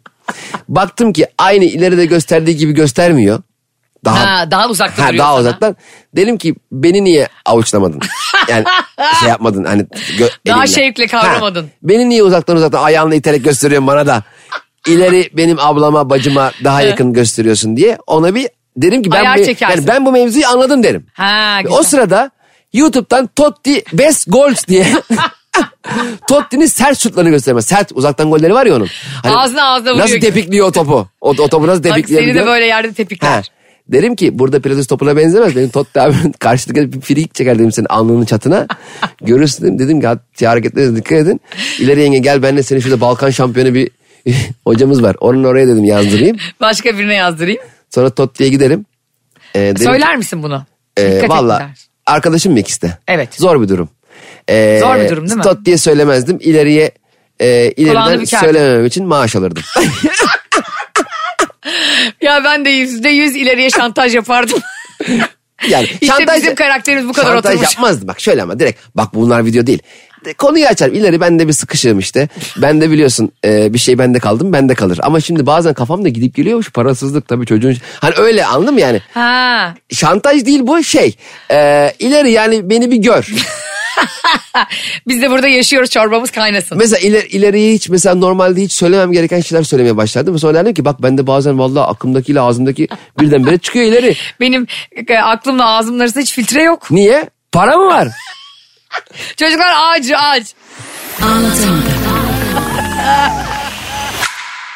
Speaker 3: Baktım ki aynı ileride gösterdiği gibi göstermiyor. Daha
Speaker 2: Ha, daha uzakta
Speaker 3: Ha,
Speaker 2: duruyor
Speaker 3: daha
Speaker 2: sana.
Speaker 3: uzaktan. Dedim ki beni niye avuçlamadın? Yani şey yapmadın hani. gö-
Speaker 2: Daha
Speaker 3: elinle.
Speaker 2: şevkle kavramadın.
Speaker 3: Ha, beni niye uzaktan uzaktan ayağınla iterek gösteriyorsun bana da. İleri benim ablama bacıma daha yakın gösteriyorsun diye ona bir derim ki ben
Speaker 2: Ayar
Speaker 3: bu,
Speaker 2: çekersin.
Speaker 3: yani ben bu mevzuyu anladım derim.
Speaker 2: Ha,
Speaker 3: Ve
Speaker 2: güzel.
Speaker 3: O sırada YouTube'dan Totti best goals diye Totti'nin sert şutlarını göstermez. Sert uzaktan golleri var ya onun. Hani
Speaker 2: Ağzına ağzına vuruyor
Speaker 3: Nasıl
Speaker 2: gibi.
Speaker 3: tepikliyor o topu? O, o topu nasıl
Speaker 2: Bak seni de
Speaker 3: tepikleyebiliyor?
Speaker 2: böyle yerde
Speaker 3: Ha.
Speaker 2: tepikler.
Speaker 3: Derim ki burada Pilates topuna benzemez. Benim Totti abimin karşılıklı bir frik çeker dedim senin alnının çatına. Görürsün dedim. Dedim ki "Hat- hareketlerinize dikkat edin. İleri yenge gel benle seni şurada Balkan şampiyonu bir hocamız var. Onun oraya dedim yazdırayım.
Speaker 2: Başka birine yazdırayım.
Speaker 3: Sonra Totti'ye giderim. Ee, derim
Speaker 2: Söyler misin bunu?
Speaker 3: ki, "Ee,
Speaker 2: Dikkat et
Speaker 3: Valla
Speaker 2: der.
Speaker 3: arkadaşım mı ikisi de?
Speaker 2: Evet.
Speaker 3: Zor bir durum. Ee,
Speaker 2: Zor bir durum değil mi?
Speaker 3: Totti'ye söylemezdim. İleriye e,
Speaker 2: Kulağını
Speaker 3: ileriden
Speaker 2: bükerdim.
Speaker 3: söylememem için maaş alırdım.
Speaker 2: Ya ben de yüzde yüz ileriye şantaj yapardım.
Speaker 3: Yani
Speaker 2: İşte bizim karakterimiz bu kadar
Speaker 3: şantaj
Speaker 2: oturmuş.
Speaker 3: yapmazdı bak şöyle ama direkt bak bunlar video değil. De- Konuyu açarım ileri ben de bir sıkışığım işte. Ben de biliyorsun e, bir şey bende kaldım bende kalır. Ama şimdi bazen kafamda gidip geliyormuş parasızlık tabii çocuğun. Hani öyle anladın mı yani?
Speaker 2: ha.
Speaker 3: Şantaj değil bu şey. E, ileri yani beni bir gör.
Speaker 2: Biz de burada yaşıyoruz çorbamız kaynasın.
Speaker 3: mesela iler, ileriye hiç mesela normalde hiç söylemem gereken şeyler söylemeye başlardım. Sonra derdim ki bak bende bazen vallahi aklımdakiyle ağzımdaki birdenbire çıkıyor ileri.
Speaker 2: Benim e, aklımla ağzımın arasında hiç filtre yok.
Speaker 3: Niye? Para mı var?
Speaker 2: Çocuklar ağacı ağaç.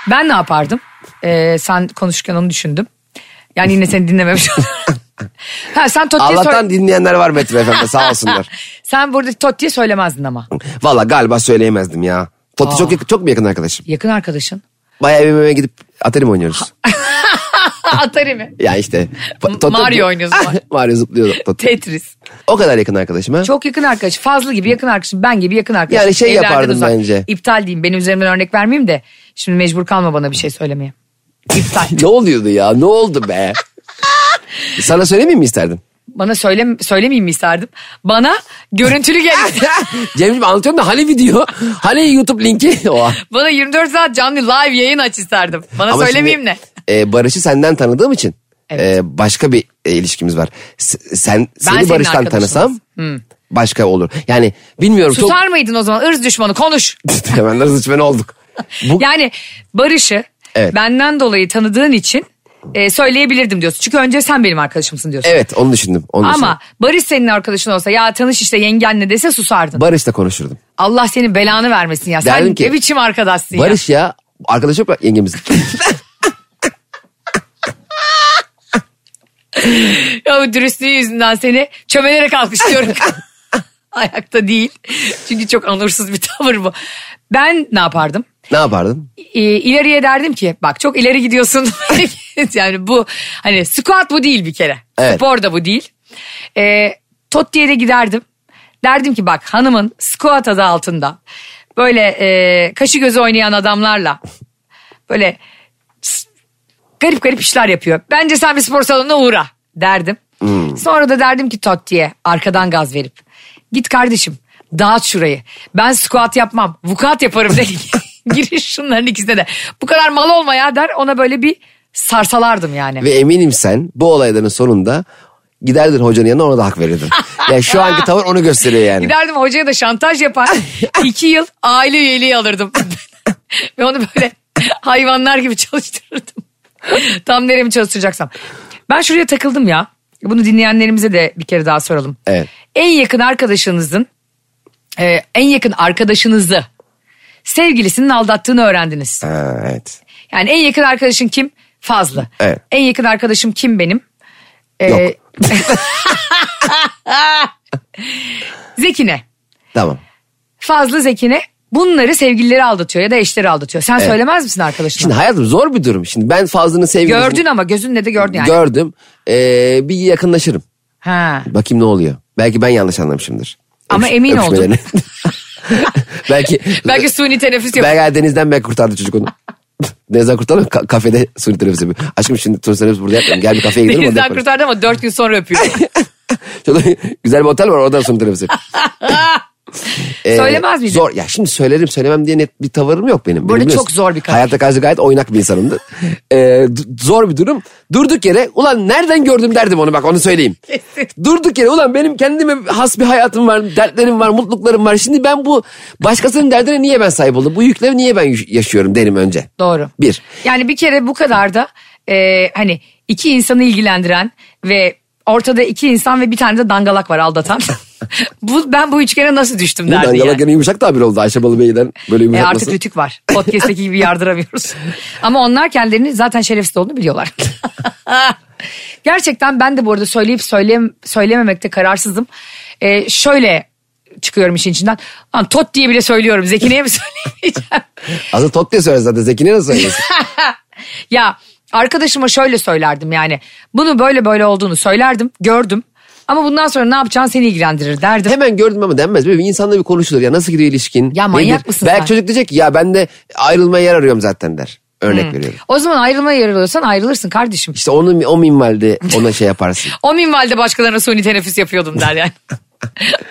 Speaker 2: Ben ne yapardım? Ee, sen konuşurken onu düşündüm. Yani yine seni dinlememiş olurum. ha, sen Totti'ye
Speaker 3: Allah'tan
Speaker 2: söyle-
Speaker 3: dinleyenler var Metro FM'de sağ olsunlar.
Speaker 2: Sen burada Totti'ye söylemezdin ama.
Speaker 3: Valla galiba söyleyemezdim ya. Totti çok, yakın- çok mu yakın arkadaşım?
Speaker 2: Yakın arkadaşın.
Speaker 3: Bayağı bir meme gidip atarım oynuyoruz.
Speaker 2: Ha, Atari mi?
Speaker 3: ya işte.
Speaker 2: M- Mario oynuyorsun.
Speaker 3: Mario zıplıyor Totti.
Speaker 2: Tetris.
Speaker 3: O kadar yakın arkadaşım ha.
Speaker 2: Çok yakın arkadaş. Fazla gibi yakın arkadaşım. Ben gibi yakın arkadaşım.
Speaker 3: Yani şey
Speaker 2: Evlerden
Speaker 3: yapardım bence.
Speaker 2: İptal diyeyim. Benim üzerimden örnek vermeyeyim de. Şimdi mecbur kalma bana bir şey söylemeye. İptal.
Speaker 3: ne oluyordu ya? Ne oldu be? Sana söylemeyeyim mi isterdin?
Speaker 2: bana söyle, söylemeyeyim mi isterdim? Bana görüntülü gel.
Speaker 3: Cemciğim anlatıyorum da Hale video. Hale YouTube linki o.
Speaker 2: Bana 24 saat canlı live yayın aç isterdim. Bana
Speaker 3: Ama
Speaker 2: söylemeyeyim
Speaker 3: şimdi,
Speaker 2: ne?
Speaker 3: e, Barış'ı senden tanıdığım için. e, başka bir e, ilişkimiz var. S- sen seni
Speaker 2: senin
Speaker 3: Barış'tan
Speaker 2: arkadaşınız. Hmm.
Speaker 3: tanısam başka olur. Yani bilmiyorum
Speaker 2: Susar mıydın o zaman ırz düşmanı konuş.
Speaker 3: çok hemen nasıl düşman olduk. Bu
Speaker 2: Yani Barış'ı
Speaker 3: Evet.
Speaker 2: benden dolayı tanıdığın için e, söyleyebilirdim diyorsun. Çünkü önce sen benim arkadaşımsın diyorsun.
Speaker 3: evet onu düşündüm. Onu
Speaker 2: Ama Barış senin arkadaşın olsa ya tanış işte yengenle dese susardın.
Speaker 3: düşündüm. Barış'la konuşurdum.
Speaker 2: Allah senin belanı vermesin ya.
Speaker 3: Derdim
Speaker 2: Sen
Speaker 3: ki,
Speaker 2: ne biçim arkadaşsın ya.
Speaker 3: Barış ya arkadaş yok mu yengemiz.
Speaker 2: Ya bu dürüstlüğü yüzünden seni çömelerek alkışlıyorum. Ayakta değil. Çünkü çok onursuz bir tavır bu. Ben ne yapardım?
Speaker 3: ne yapardın?
Speaker 2: Ee, ileriye derdim ki bak çok ileri gidiyorsun. yani bu hani squat bu değil bir kere.
Speaker 3: Evet.
Speaker 2: Spor da bu değil. Ee, tot diye de giderdim. Derdim ki bak hanımın squat adı altında böyle e, kaşı gözü oynayan adamlarla böyle s- garip garip işler yapıyor. Bence sen bir spor salonuna uğra derdim. Sonra da derdim ki Totti'ye arkadan gaz verip git kardeşim dağıt şurayı. Ben squat yapmam vukuat yaparım de giriş şunların ikisine de. Bu kadar mal olma ya der ona böyle bir sarsalardım yani.
Speaker 3: Ve eminim sen bu olayların sonunda giderdin hocanın yanına ona da hak verirdin. yani şu anki tavır onu gösteriyor yani.
Speaker 2: Giderdim hocaya da şantaj yapar. İki yıl aile üyeliği alırdım. Ve onu böyle hayvanlar gibi çalıştırırdım. Tam nereye mi çalıştıracaksam. Ben şuraya takıldım ya. Bunu dinleyenlerimize de bir kere daha soralım.
Speaker 3: Evet.
Speaker 2: En yakın arkadaşınızın, e, en yakın arkadaşınızı sevgilisinin aldattığını öğrendiniz.
Speaker 3: Ha, evet.
Speaker 2: Yani en yakın arkadaşın kim? Fazlı.
Speaker 3: Evet.
Speaker 2: En yakın arkadaşım kim benim? E,
Speaker 3: Yok.
Speaker 2: Zekine.
Speaker 3: Tamam.
Speaker 2: Fazla Zekin'e bunları sevgilileri aldatıyor ya da eşleri aldatıyor. Sen söylemez misin arkadaşına?
Speaker 3: Şimdi hayatım zor bir durum. Şimdi ben Fazlı'nın sevgilisini
Speaker 2: Gördün ama gözünle de gördün yani.
Speaker 3: gördüm. Ee, bir yakınlaşırım.
Speaker 2: ha.
Speaker 3: Bakayım ne oluyor. Belki ben yanlış anlamışımdır.
Speaker 2: Ama emin oldum.
Speaker 3: öpüşmelerini. belki
Speaker 2: Belki suni teneffüs yapıyor.
Speaker 3: belki denizden ben kurtardı çocuk onu. Denizden kurtardım ka- kafede suni teneffüs yapıyor. Aşkım şimdi suni teneffüs burada yapmayalım. Gel bir kafeye gidelim. orada
Speaker 2: Denizden
Speaker 3: yaparız.
Speaker 2: kurtardı ama dört gün sonra öpüyor.
Speaker 3: Şurada güzel bir otel var orada suni teneffüs yapıyor. Ee,
Speaker 2: Söylemez miydin?
Speaker 3: Zor. Ya şimdi söylerim söylemem diye net bir tavırım yok benim.
Speaker 2: Bu arada
Speaker 3: Benim
Speaker 2: çok zor bir karar.
Speaker 3: Hayata karşı gayet oynak bir insanımdı. Ee, d- zor bir durum. Durduk yere ulan nereden gördüm derdim onu bak onu söyleyeyim. Durduk yere ulan benim kendime has bir hayatım var, dertlerim var, mutluluklarım var. Şimdi ben bu başkasının derdine niye ben sahip oldum? Bu yükleri niye ben yü- yaşıyorum derim önce.
Speaker 2: Doğru.
Speaker 3: Bir.
Speaker 2: Yani bir kere bu kadar da e, hani iki insanı ilgilendiren ve ortada iki insan ve bir tane de dangalak var aldatan. bu, ben bu üçgene nasıl düştüm
Speaker 3: Bu
Speaker 2: derdi
Speaker 3: Dangala
Speaker 2: yani.
Speaker 3: gene yumuşak tabir oldu Ayşe Balı Bey'den böyle
Speaker 2: E
Speaker 3: yumuşatması.
Speaker 2: artık rütük var. Podcast'teki gibi yardıramıyoruz. Ama onlar kendilerini zaten şerefsiz olduğunu biliyorlar. Gerçekten ben de bu arada söyleyip söyleyem, söylememekte kararsızım. E, şöyle çıkıyorum işin içinden. Lan tot diye bile söylüyorum. Zekine'ye mi söyleyemeyeceğim?
Speaker 3: Aslında tot diye söyler zaten Zeki'ne nasıl söylesin?
Speaker 2: ya arkadaşıma şöyle söylerdim yani. Bunu böyle böyle olduğunu söylerdim. Gördüm. Ama bundan sonra ne yapacağın seni ilgilendirir derdim.
Speaker 3: Hemen gördüm ama denmez. Böyle bir insanla bir konuşulur. Ya nasıl gidiyor ilişkin?
Speaker 2: Ya manyak mısın
Speaker 3: Belki
Speaker 2: sen?
Speaker 3: çocuk diyecek ki ya ben de ayrılmaya yer arıyorum zaten der. Örnek veriyorum.
Speaker 2: O zaman ayrılmaya yarılıyorsan ayrılırsın kardeşim.
Speaker 3: İşte onun o minvalde ona şey yaparsın.
Speaker 2: O minvalde başkalarına suni teneffüs yapıyordum der yani.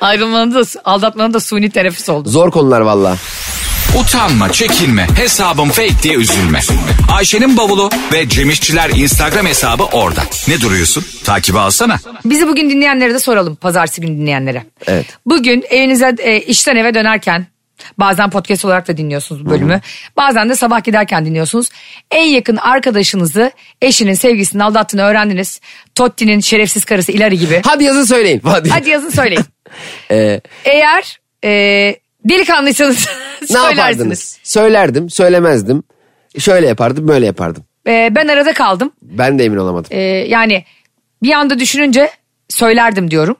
Speaker 2: Ayrılmanın da aldatmanın da suni teneffüs oldu.
Speaker 3: Zor konular valla.
Speaker 1: Utanma, çekinme, hesabım fake diye üzülme. Ayşe'nin bavulu ve Cemişçiler Instagram hesabı orada. Ne duruyorsun? Takibi alsana.
Speaker 2: Bizi bugün dinleyenlere de soralım pazartesi günü dinleyenlere.
Speaker 3: Evet.
Speaker 2: Bugün evinize e, işten eve dönerken bazen podcast olarak da dinliyorsunuz bu bölümü. Bazen de sabah giderken dinliyorsunuz. En yakın arkadaşınızı eşinin sevgisini aldattığını öğrendiniz. Totti'nin şerefsiz karısı Ilari gibi.
Speaker 3: Hadi yazın söyleyin. Hadi. Ee,
Speaker 2: Hadi yazın söyleyin. Eğer e, delikanlıysanız
Speaker 3: ne
Speaker 2: söylersiniz.
Speaker 3: yapardınız? Söylerdim, söylemezdim. Şöyle yapardım, böyle yapardım.
Speaker 2: E, ben arada kaldım.
Speaker 3: Ben de emin olamadım.
Speaker 2: Ee, yani bir anda düşününce söylerdim diyorum.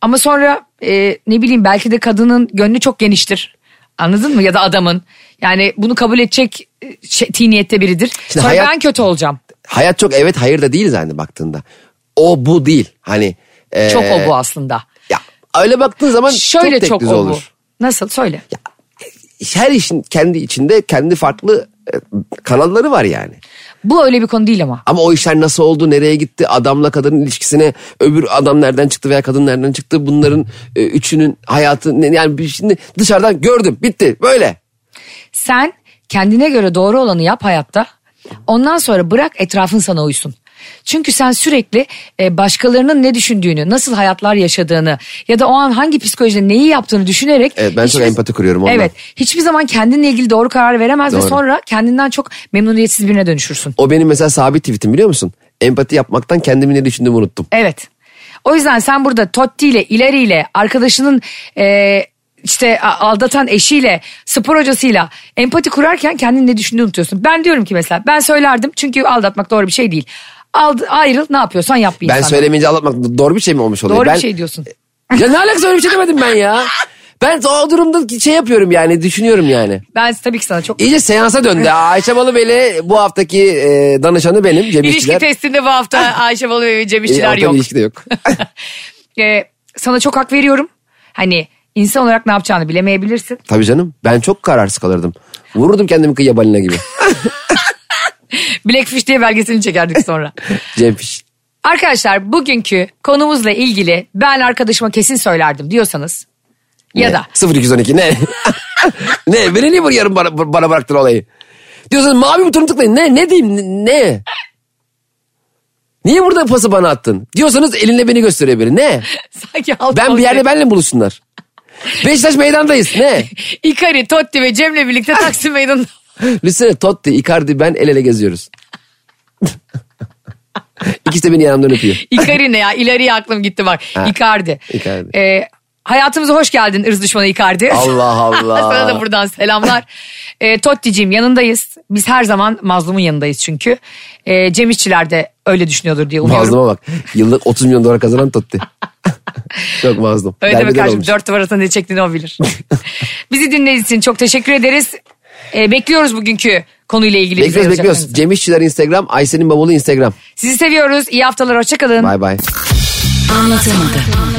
Speaker 2: Ama sonra e, ne bileyim belki de kadının gönlü çok geniştir. Anladın mı? Ya da adamın. Yani bunu kabul edecek e, şey, tiniyette biridir. sonra
Speaker 3: hayat-
Speaker 2: ben kötü olacağım.
Speaker 3: Hayat çok evet hayır da değil zaten baktığında. O bu değil. Hani e,
Speaker 2: Çok o bu aslında.
Speaker 3: Ya öyle baktığın zaman
Speaker 2: Şöyle çok,
Speaker 3: çok tekniz
Speaker 2: o bu.
Speaker 3: olur.
Speaker 2: Nasıl? Söyle.
Speaker 3: Her işin kendi içinde kendi farklı e, kanalları var yani.
Speaker 2: Bu öyle bir konu değil ama.
Speaker 3: Ama o işler nasıl oldu, nereye gitti, adamla kadının ilişkisine, öbür adam nereden çıktı veya kadın nereden çıktı, bunların e, üçünün hayatı, ne- yani bir- şimdi dışarıdan gördüm, bitti, böyle.
Speaker 2: Sen kendine göre doğru olanı yap hayatta. Ondan sonra bırak etrafın sana uysun. Çünkü sen sürekli e, başkalarının ne düşündüğünü, nasıl hayatlar yaşadığını ya da o an hangi psikolojide neyi yaptığını düşünerek.
Speaker 3: Evet, ben çok empati kuruyorum ondan.
Speaker 2: Evet hiçbir zaman kendinle ilgili doğru karar veremez ve
Speaker 3: Doğru.
Speaker 2: sonra kendinden çok memnuniyetsiz birine dönüşürsün.
Speaker 3: O benim mesela sabit tweetim biliyor musun? Empati yapmaktan kendimi ne düşündüğümü unuttum.
Speaker 2: Evet. O yüzden sen burada Totti ile ileri ile arkadaşının e, işte a- aldatan eşiyle spor hocasıyla empati kurarken kendini ne düşündüğünü unutuyorsun. Ben diyorum ki mesela ben söylerdim çünkü aldatmak doğru bir şey değil. Ald, ayrıl ne yapıyorsan yap bir
Speaker 3: Ben
Speaker 2: insanla.
Speaker 3: söylemeyince anlatmak doğru bir şey mi olmuş oluyor?
Speaker 2: Doğru
Speaker 3: ben,
Speaker 2: bir şey diyorsun.
Speaker 3: Ya ne alakası öyle bir şey demedim ben ya. Ben o durumda şey yapıyorum yani düşünüyorum yani.
Speaker 2: Ben tabii ki sana çok...
Speaker 3: İyice seansa döndü. Ayşe Balıbeli bu haftaki e, danışanı benim Cem
Speaker 2: İlişki
Speaker 3: İşçiler.
Speaker 2: testinde bu hafta Ayşe Balı ve Cem
Speaker 3: E,
Speaker 2: İşçiler
Speaker 3: ortada
Speaker 2: yok.
Speaker 3: ilişki de yok.
Speaker 2: E, sana çok hak veriyorum. Hani insan olarak ne yapacağını bilemeyebilirsin.
Speaker 3: Tabii canım ben çok kararsız kalırdım. Vururdum kendimi kıyıya balina gibi.
Speaker 2: Blackfish diye belgeselini çekerdik sonra.
Speaker 3: Cem Fiş.
Speaker 2: Arkadaşlar bugünkü konumuzla ilgili ben arkadaşıma kesin söylerdim diyorsanız ya
Speaker 3: Ne?
Speaker 2: da
Speaker 3: 0212 ne? ne? Beni niye buraya yarın bana, bana bıraktın olayı? Diyorsun mavi butonu tıklayın. Ne? Ne diyeyim? N- Ne? Niye burada pası bana attın? Diyorsanız elinle beni gösteriyor biri. Ne?
Speaker 2: sanki halk
Speaker 3: Ben bir yerde benimle mi buluşsunlar. Beşiktaş meydandayız. Ne?
Speaker 2: Ikari, Totti ve Cem'le birlikte Taksim Meydanı'nda
Speaker 3: Lütfen Totti, Icardi ben el ele geziyoruz. İkisi de beni yanımdan öpüyor.
Speaker 2: Ikari ne ya ileriye aklım gitti bak
Speaker 3: Ha,
Speaker 2: Icardi.
Speaker 3: Icardi.
Speaker 2: Ee, hayatımıza hoş geldin ırz düşmanı Icardi.
Speaker 3: Allah Allah.
Speaker 2: Sana da buradan selamlar. ee, Totti'ciğim yanındayız. Biz her zaman mazlumun yanındayız çünkü. Ee, Cem İşçiler de öyle düşünüyordur diye umuyorum.
Speaker 3: Mazluma bak. Yıllık 30 milyon dolar kazanan Totti. Çok mazlum.
Speaker 2: Öyle deme
Speaker 3: Derbiden
Speaker 2: kardeşim.
Speaker 3: olmuş.
Speaker 2: Dört duvar arasında ne çektiğini o bilir. Bizi dinlediğiniz için çok teşekkür ederiz. Ee, bekliyoruz bugünkü konuyla ilgili. bize
Speaker 3: Bekliyoruz bekliyoruz.
Speaker 2: yazacaklarınızı.
Speaker 3: Cem İşçiler Instagram, Ayşe'nin babalı Instagram.
Speaker 2: Sizi seviyoruz. İyi haftalar. Hoşçakalın.
Speaker 3: Bay bay.
Speaker 4: Anlatamadım.